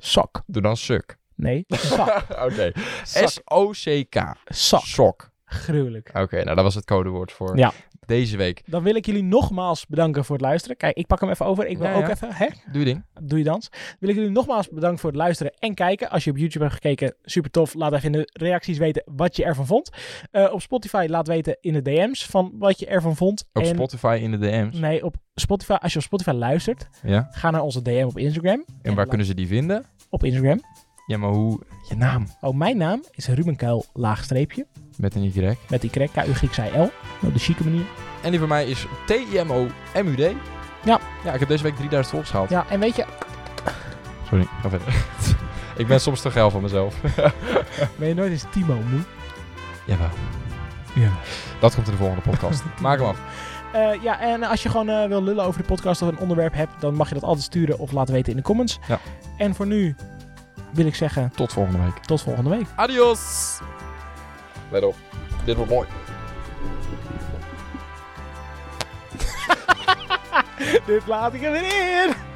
Speaker 2: Sok.
Speaker 1: Doe dan suk.
Speaker 2: Nee, zak.
Speaker 1: Oké.
Speaker 2: Zak.
Speaker 1: S-O-C-K.
Speaker 2: Zak.
Speaker 1: Sok.
Speaker 2: Gruwelijk.
Speaker 1: Oké, nou dat was het codewoord voor
Speaker 2: Ja.
Speaker 1: deze week.
Speaker 2: Dan wil ik jullie nogmaals bedanken voor het luisteren. Kijk, ik pak hem even over. Ik wil
Speaker 1: Ja,
Speaker 2: ook
Speaker 1: ja.
Speaker 2: even... Hè?
Speaker 1: Doe je ding.
Speaker 2: Doe je dans. Wil ik jullie nogmaals bedanken voor het luisteren en kijken. Als je op YouTube hebt gekeken, super tof. Laat even in de reacties weten wat je ervan vond. Eh, op Spotify laat weten in de DM's van wat je ervan vond.
Speaker 1: Op
Speaker 2: en,
Speaker 1: Spotify in de DM's.
Speaker 2: Nee, op Spotify. Als je op Spotify luistert,
Speaker 1: Ja.
Speaker 2: ga naar onze DM op Instagram.
Speaker 1: En waar kunnen ze die vinden?
Speaker 2: Op Instagram.
Speaker 1: Ja, maar hoe? Je naam.
Speaker 2: Oh, mijn naam is Ruben Kuil, laagstreepje.
Speaker 1: Met een Y.
Speaker 2: Met Y, k u g i l Op de chique manier.
Speaker 1: En die van mij is T-I-M-O-M-U-D.
Speaker 2: Ja.
Speaker 1: Ja, ik heb deze week 3000 volks gehaald.
Speaker 2: Ja, en weet je,
Speaker 1: Sorry, ga verder. ik ben soms te geil van mezelf. Eh.
Speaker 2: ben je nooit eens Timo moe?
Speaker 1: Jawel.
Speaker 2: Ja.
Speaker 1: Dat komt in de volgende podcast. Maak hem af.
Speaker 2: Eh, ja, en als je gewoon eh, wil lullen over de podcast of een onderwerp hebt, dan mag je dat altijd sturen of laten weten in de comments.
Speaker 1: Ja.
Speaker 2: En voor nu wil ik zeggen,
Speaker 1: Tot volgende week.
Speaker 2: tot volgende week.
Speaker 1: Adios! Let op. Dit wordt mooi.
Speaker 2: Dit laat ik er weer in!